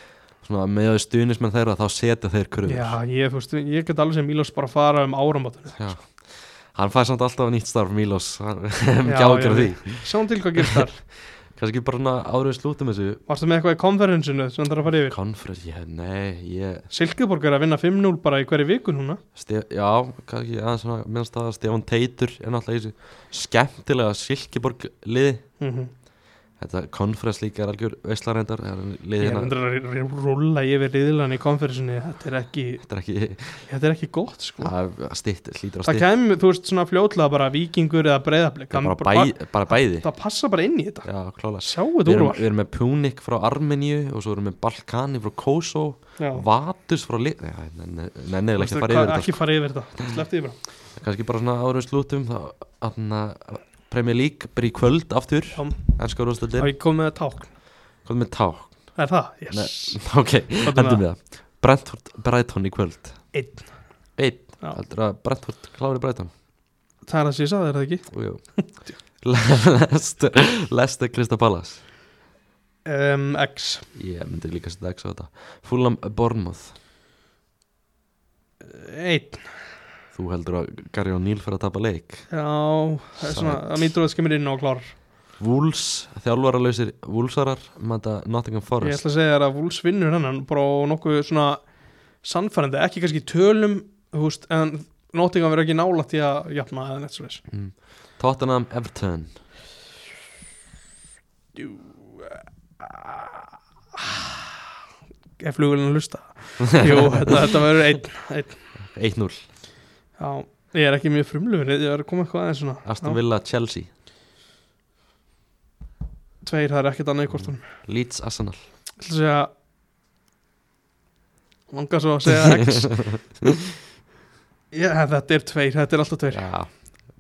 A: Svona með að stuðnismenn þeirra þá setja þeir kröfur
B: Já, ég, fúst, ég get alveg sem Mílos bara að fara um áramótunum
A: Já. Hann fær samt alltaf nýtt starf Mílos Hann
B: Já,
A: ekki ágjör
B: já,
A: því
B: Sjáum til hvað gerst þar
A: Kannski bara svona árið slútum þessu
B: Varstu með eitthvað í konferensinu sem það er að fara yfir
A: Konferens, ég, nei, ég
B: Silkeborg er að vinna 5-0 bara í hverju viku núna
A: Ste Já, kannski aðeins svona minnst það að Stefán Teitur er náttúrulega í þessu skemmtilega Silkeborg liði
B: mm
A: en þetta konferens líka er hérna. algjör veistlarendar
B: Ég er
A: liðina,
B: endur að r- r- rúlla yfir riðlan í konferensinni, þetta er ekki,
A: þetta er ekki
B: þetta er ekki gott sko.
A: að stitt, hlýtur að
B: það
A: stitt
B: kemur, þú veist, svona fljótlega bara vikingur eða breyðablik,
A: bara, bæ, bara bæði
B: það passa bara inn í þetta.
A: já, klálega
B: Sjá
A: Við
B: þetta
A: erum,
B: úrval.
A: við erum með Púnik frá Armeníu og svo erum við Balkani frá Kosovo
B: Já.
A: Vatus frá Lit Nenniðilega ekki
B: Veistu
A: að fara yfir
B: hvað-
A: þetta
B: Ekki fara yfir þetta, sleppti yfir þetta.
A: sko. kannski bara svona árum slútum þá aðna Premier League bara í kvöld aftur
B: Já.
A: ennska
B: Há
A: rústöldir
B: ég komið með tákn.
A: hvað með tá
B: Er það? Yes.
A: ok
B: Hvað
A: endum
B: er það?
A: við það Brentford Brighton í kvöld
B: Einn.
A: einn
B: Já.
A: heldur að Brentford klári Brighton
B: Það er það sem ég sagði, er það ekki?
A: újó Lester Lester Kristapalas
B: Um, X.
A: ég myndi líka setja X á þetta Fulham Bournemouth
B: Einn.
A: þú heldur að Gary O'Neill fyrir að tapa leik
B: Já, það er svona,
A: Sæt.
B: það mýtur að það skemmir inn og klárar.
A: Wolves þjálfaralausir Wolvesarar manda Nottingham
B: Ég
A: Forest
B: ætla að segja þér að Wolves vinnur hennan bara á nokkuð svona sannfærandi, ekki kannski í tölum þú veist, en Nottingham verður ekki nálægt í að jafna eða neitt svo leys
A: Tottenham Everton
B: ef flugulinn að hlusta Jú, þetta, þetta verður einn, einn
A: 1-0
B: Já, ég er ekki mjög frumlufin ég er að koma eitthvað aðeins svona
A: Aston
B: Já,
A: Villa Chelsea
B: Tveir, það er ekkert annað í kortunum
A: Leeds Arsenal
B: Ég ætla að segja langar svo að segja X Já, þetta er tveir, þetta er alltaf tveir
A: ja.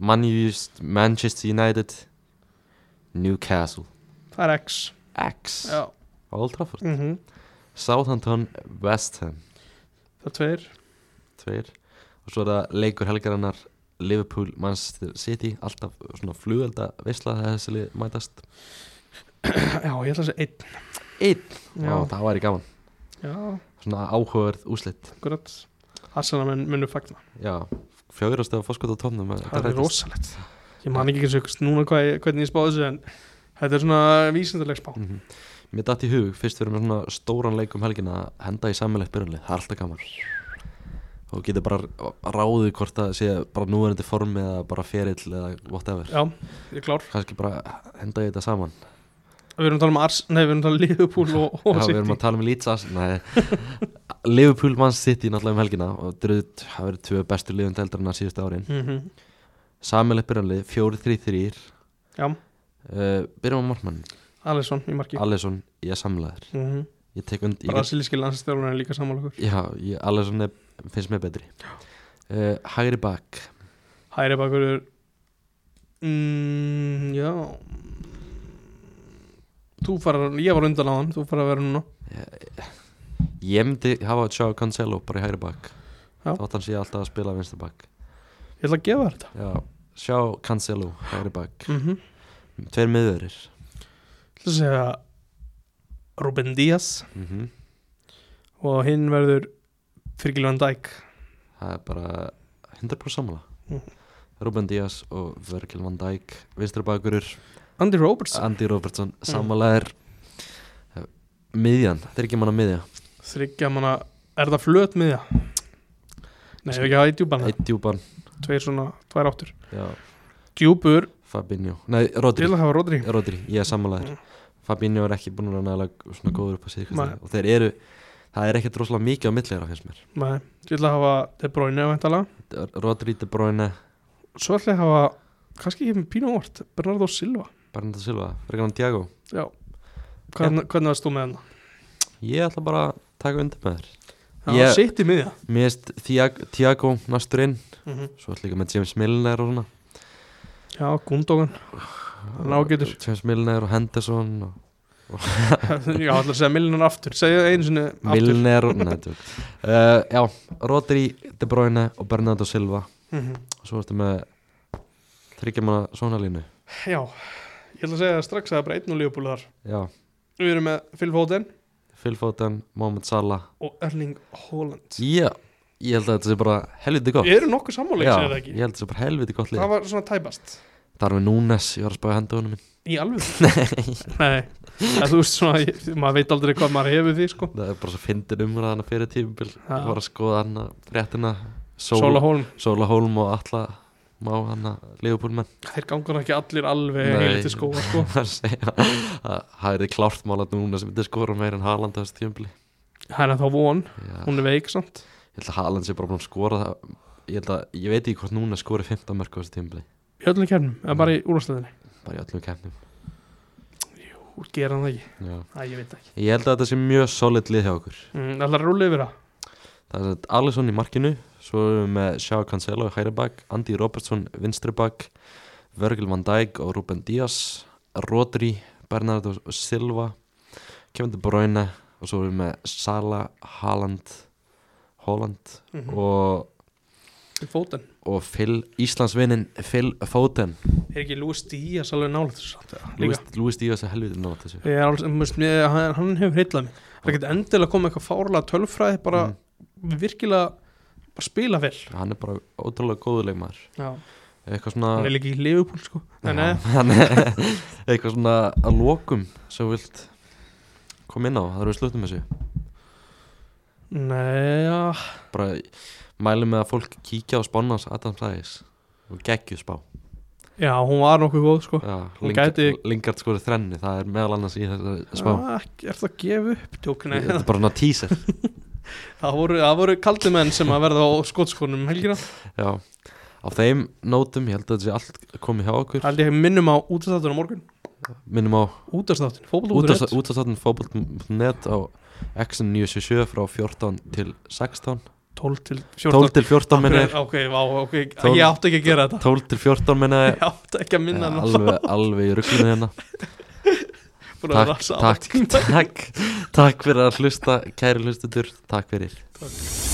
A: Man Used Manchester United Newcastle
B: Það er X
A: X
B: Já,
A: Old Trafford
B: mhm
A: Southampton West Ham
B: Það er tveir
A: Tveir Og svo er það leikur helgarinnar Liverpool Manchester City Alltaf svona flugelda veisla þegar þessi lið mætast
B: Já, ég ætla að segja einn
A: Einn
B: Já,
A: Og það væri gaman
B: já
A: Svona áhugaverð úslitt
B: akkurat Arsenal menn munum fagna
A: Já Fjórasti á fórskot á tónum
B: það er rosalegt ég man ekki kannski núna hvað, ég- hvernig ég spáði þessu en þetta er svona vísindarleg spá
A: Mm -hmm. Mér datt í hug, fyrst við erum með svona stóran leik um helgina að henda í samanlegt byrjunlið, það er alltaf gaman og getur bara ráðið hvort það sé bara núverandi form eða bara ferill eða whatever
B: já, ég er klár
A: kannski bara henda í þetta saman
B: við erum að tala um Ars, nei við erum að tala um Liverpool og, og
A: Já, við erum að tala með Lítsas Nei, Liverpool mann City náttúrulega um helgina og dröðt, það verið tvö bestu liðum deildarinn að síðustu árin
B: Mhm.
A: samanlegt byrjunlið, 4-3-3
B: já,
A: uh, byrjum á markmann,
B: Alisson í marki
A: Alisson ég samlaður,
B: mm -hmm.
A: ég tek und ég get-
B: brasilíski landstjálfurinn er líka sammála okkur
A: Já, ég, Alisson er, finnst mér betri uh, Hægri bak
B: hæri bakur er mm, já þú farar, ég var undan á hann þú farar að vera núna
A: Ég myndi hafa að sjá Cancelo bara í hægri bak
B: Já.
A: Þótt hann sé alltaf að spila vinstri bak
B: ég ætla að gefa þér þetta
A: Já, sjá Cancelo hægri bak
B: mm
A: Tveir miðurir
B: ég ætla að segja Ruben Díaz
A: mm
B: og hinn verður Virgil van Dijk
A: Það er bara 100% samla
B: Mhm.
A: Ruben Díaz og Virgil van Dijk Vinstri bakurur,
B: Andy Robertson
A: Andy Robertson
B: Mhm.
A: Samalaðir mm. Miðjan, þetta er ekki manna miðja
B: þryggja manna, er það flöt miðja? Nei, ef ekki hafa eitt djúpan
A: Eitt djúpan,
B: tveir svona, tvær áttur
A: já,
B: djúpur,
A: Fabinho Nei,
B: til
A: Rodri
B: að hafa Rodri
A: Rodri, ég er sammálaður Fabinho er ekki búin að nægilega svona góður upp á
B: Mm. Nei.
A: síðkast og þeir eru, það er ekkert rosalega mikið á milliðra finnst mér
B: Nei, til að hafa De Bruyne vantala.
A: Rodri, De Bruyne,
B: svo ætla ég að hafa, kannski ekki með pínu óvart Bernardo Silva
A: Bernardo Silva fyrir hann Tiago,
B: já, Hvern, hvernig varst þú með hennar?
A: ég ætla bara að taka undir með þér
B: það
A: Ég-
B: var sitt í miðja
A: Mér erst Tiago, Tiago næstur inn
B: mm
A: svo ætla líka með James Milner og svona
B: já, Gundogan Hann er ágætur.
A: James Milner og Henderson og
B: já, ætla að segja Milner aftur segja einu sinni aftur
A: Milner og, nei, tjók. uh, já, Rodri, De Bruyne og Bernardo Silva
B: mm
A: og svo ertu með þryggjamanna svona línu
B: já, ég ætla að segja strax að það er bara einn og lífbúlið þar
A: já,
B: við erum með Phil Foden
A: Phil Foden, Mohamed Salah
B: og Erling Haaland
A: Já, ég held að þetta sé bara helviti gott
B: Við erum nokkuð sammáleik,
A: Já,
B: segir það ekki
A: Ég held að þetta sé bara helviti gott lið
B: Það var svona tæpast
A: Það er með Núnes, ég var að spáði henda honum minn
B: Í alveg Nei Það þú veist svona, ég, maður veit aldrei hvað maður hefur því sko
A: Það er bara svo fyndin umræðana fyrir tímubil
B: Já.
A: Ég var að skoða hana, fréttina Sól,
B: Sóla Hólm
A: Sóla Hólm og alla má hann að liðupúlmenn
B: Þeir gangur ekki allir alveg
A: Nei.
B: heilir til skóa sko.
A: það segja að það er klárt mála núna sem þetta skora meira en Haaland á þessu tjömbli
B: Það er þá von,
A: ég
B: hún er veik samt
A: held að Haaland sé bara búin að skora það ég, held að, ég veit ekki hvort núna skori 15 mörg á þessu tjömbli
B: Í öllum kefnum, eða bara í úrvarsleðinni
A: bara í öllum kemnum
B: Úr gera hann það ekki,
A: Já.
B: Æ, ég veit það ekki
A: ég held að þetta sé mjög solid lið hjá okkur
B: mm, Það er rúlið yfir það
A: það er þetta Alisson í markinu svo erum við með Sjá Cancelo í hægri bak Andy Robertson vinstri bak Virgil van Dijk og Ruben Díaz Rodri, Bernardo Silva Kevin De Bruyne og svo erum við með Sala, Haaland Holland
B: mm
A: og
B: Til fótinn
A: og Phil, Íslandsvinnin Phil Foden
B: Er ekki Lúi Stías alveg nála þessu samt eða? Líka.
A: Lúi Stígas er helviti nátt þessu
B: Ég er alls, must, ég, hann, hann hefur heitlað mig Það getur endilega komið eitthvað fárlega tölfræði bara
A: Mm.
B: virkilega bara spila vel
A: hann er bara ótrúlega góður leikmaður
B: Já.
A: eitthvað
B: Hann er
A: svona
B: líka í Liverpool sko Nei, nei,
A: hann er eitthvað svona að lokum sem þú vilt koma inn á, það eru við sluttum þessu
B: nei, ah. já
A: bara mælum með að fólk kíkja á spánans Adam Sæðis og geggju spá
B: Já, hún var nokkuð góð sko
A: Já,
B: Hún
A: Lingard-
B: gæti-
A: Lingard skorið þrenni, það er meðal annars í þessari spá
B: Ah, ekki- Er það að gefa upp tjók? Nei,
A: þetta er bara svona teaser
B: það voru, það voru kaldi menn sem að verða á skotskónum um helgina
A: Já. á þeim nótum, ég held að þetta sé allt komið hjá okkur
B: Það held ég minnum á útastáttunum morgun
A: minnum á
B: Útastáttin, fótbolta
A: Útastáttin fókbalt.net á XN977 frá 14 til 16
B: 12 til
A: 12
B: 14
A: til 14 minna ég.
B: Ok, vá, ok,
A: Tólf-
B: ég átti ekki að gera þetta
A: 12 til 14 minna ég.
B: Ég átti ekki að
A: Eh,
B: minna hann á það.
A: alveg, alveg í rugglinu hérna
B: Búin að
A: takk,
B: rasa á
A: takk,
B: tíma.
A: takk, takk fyrir að hlusta kæri hlustudur, takk fyrir
B: takk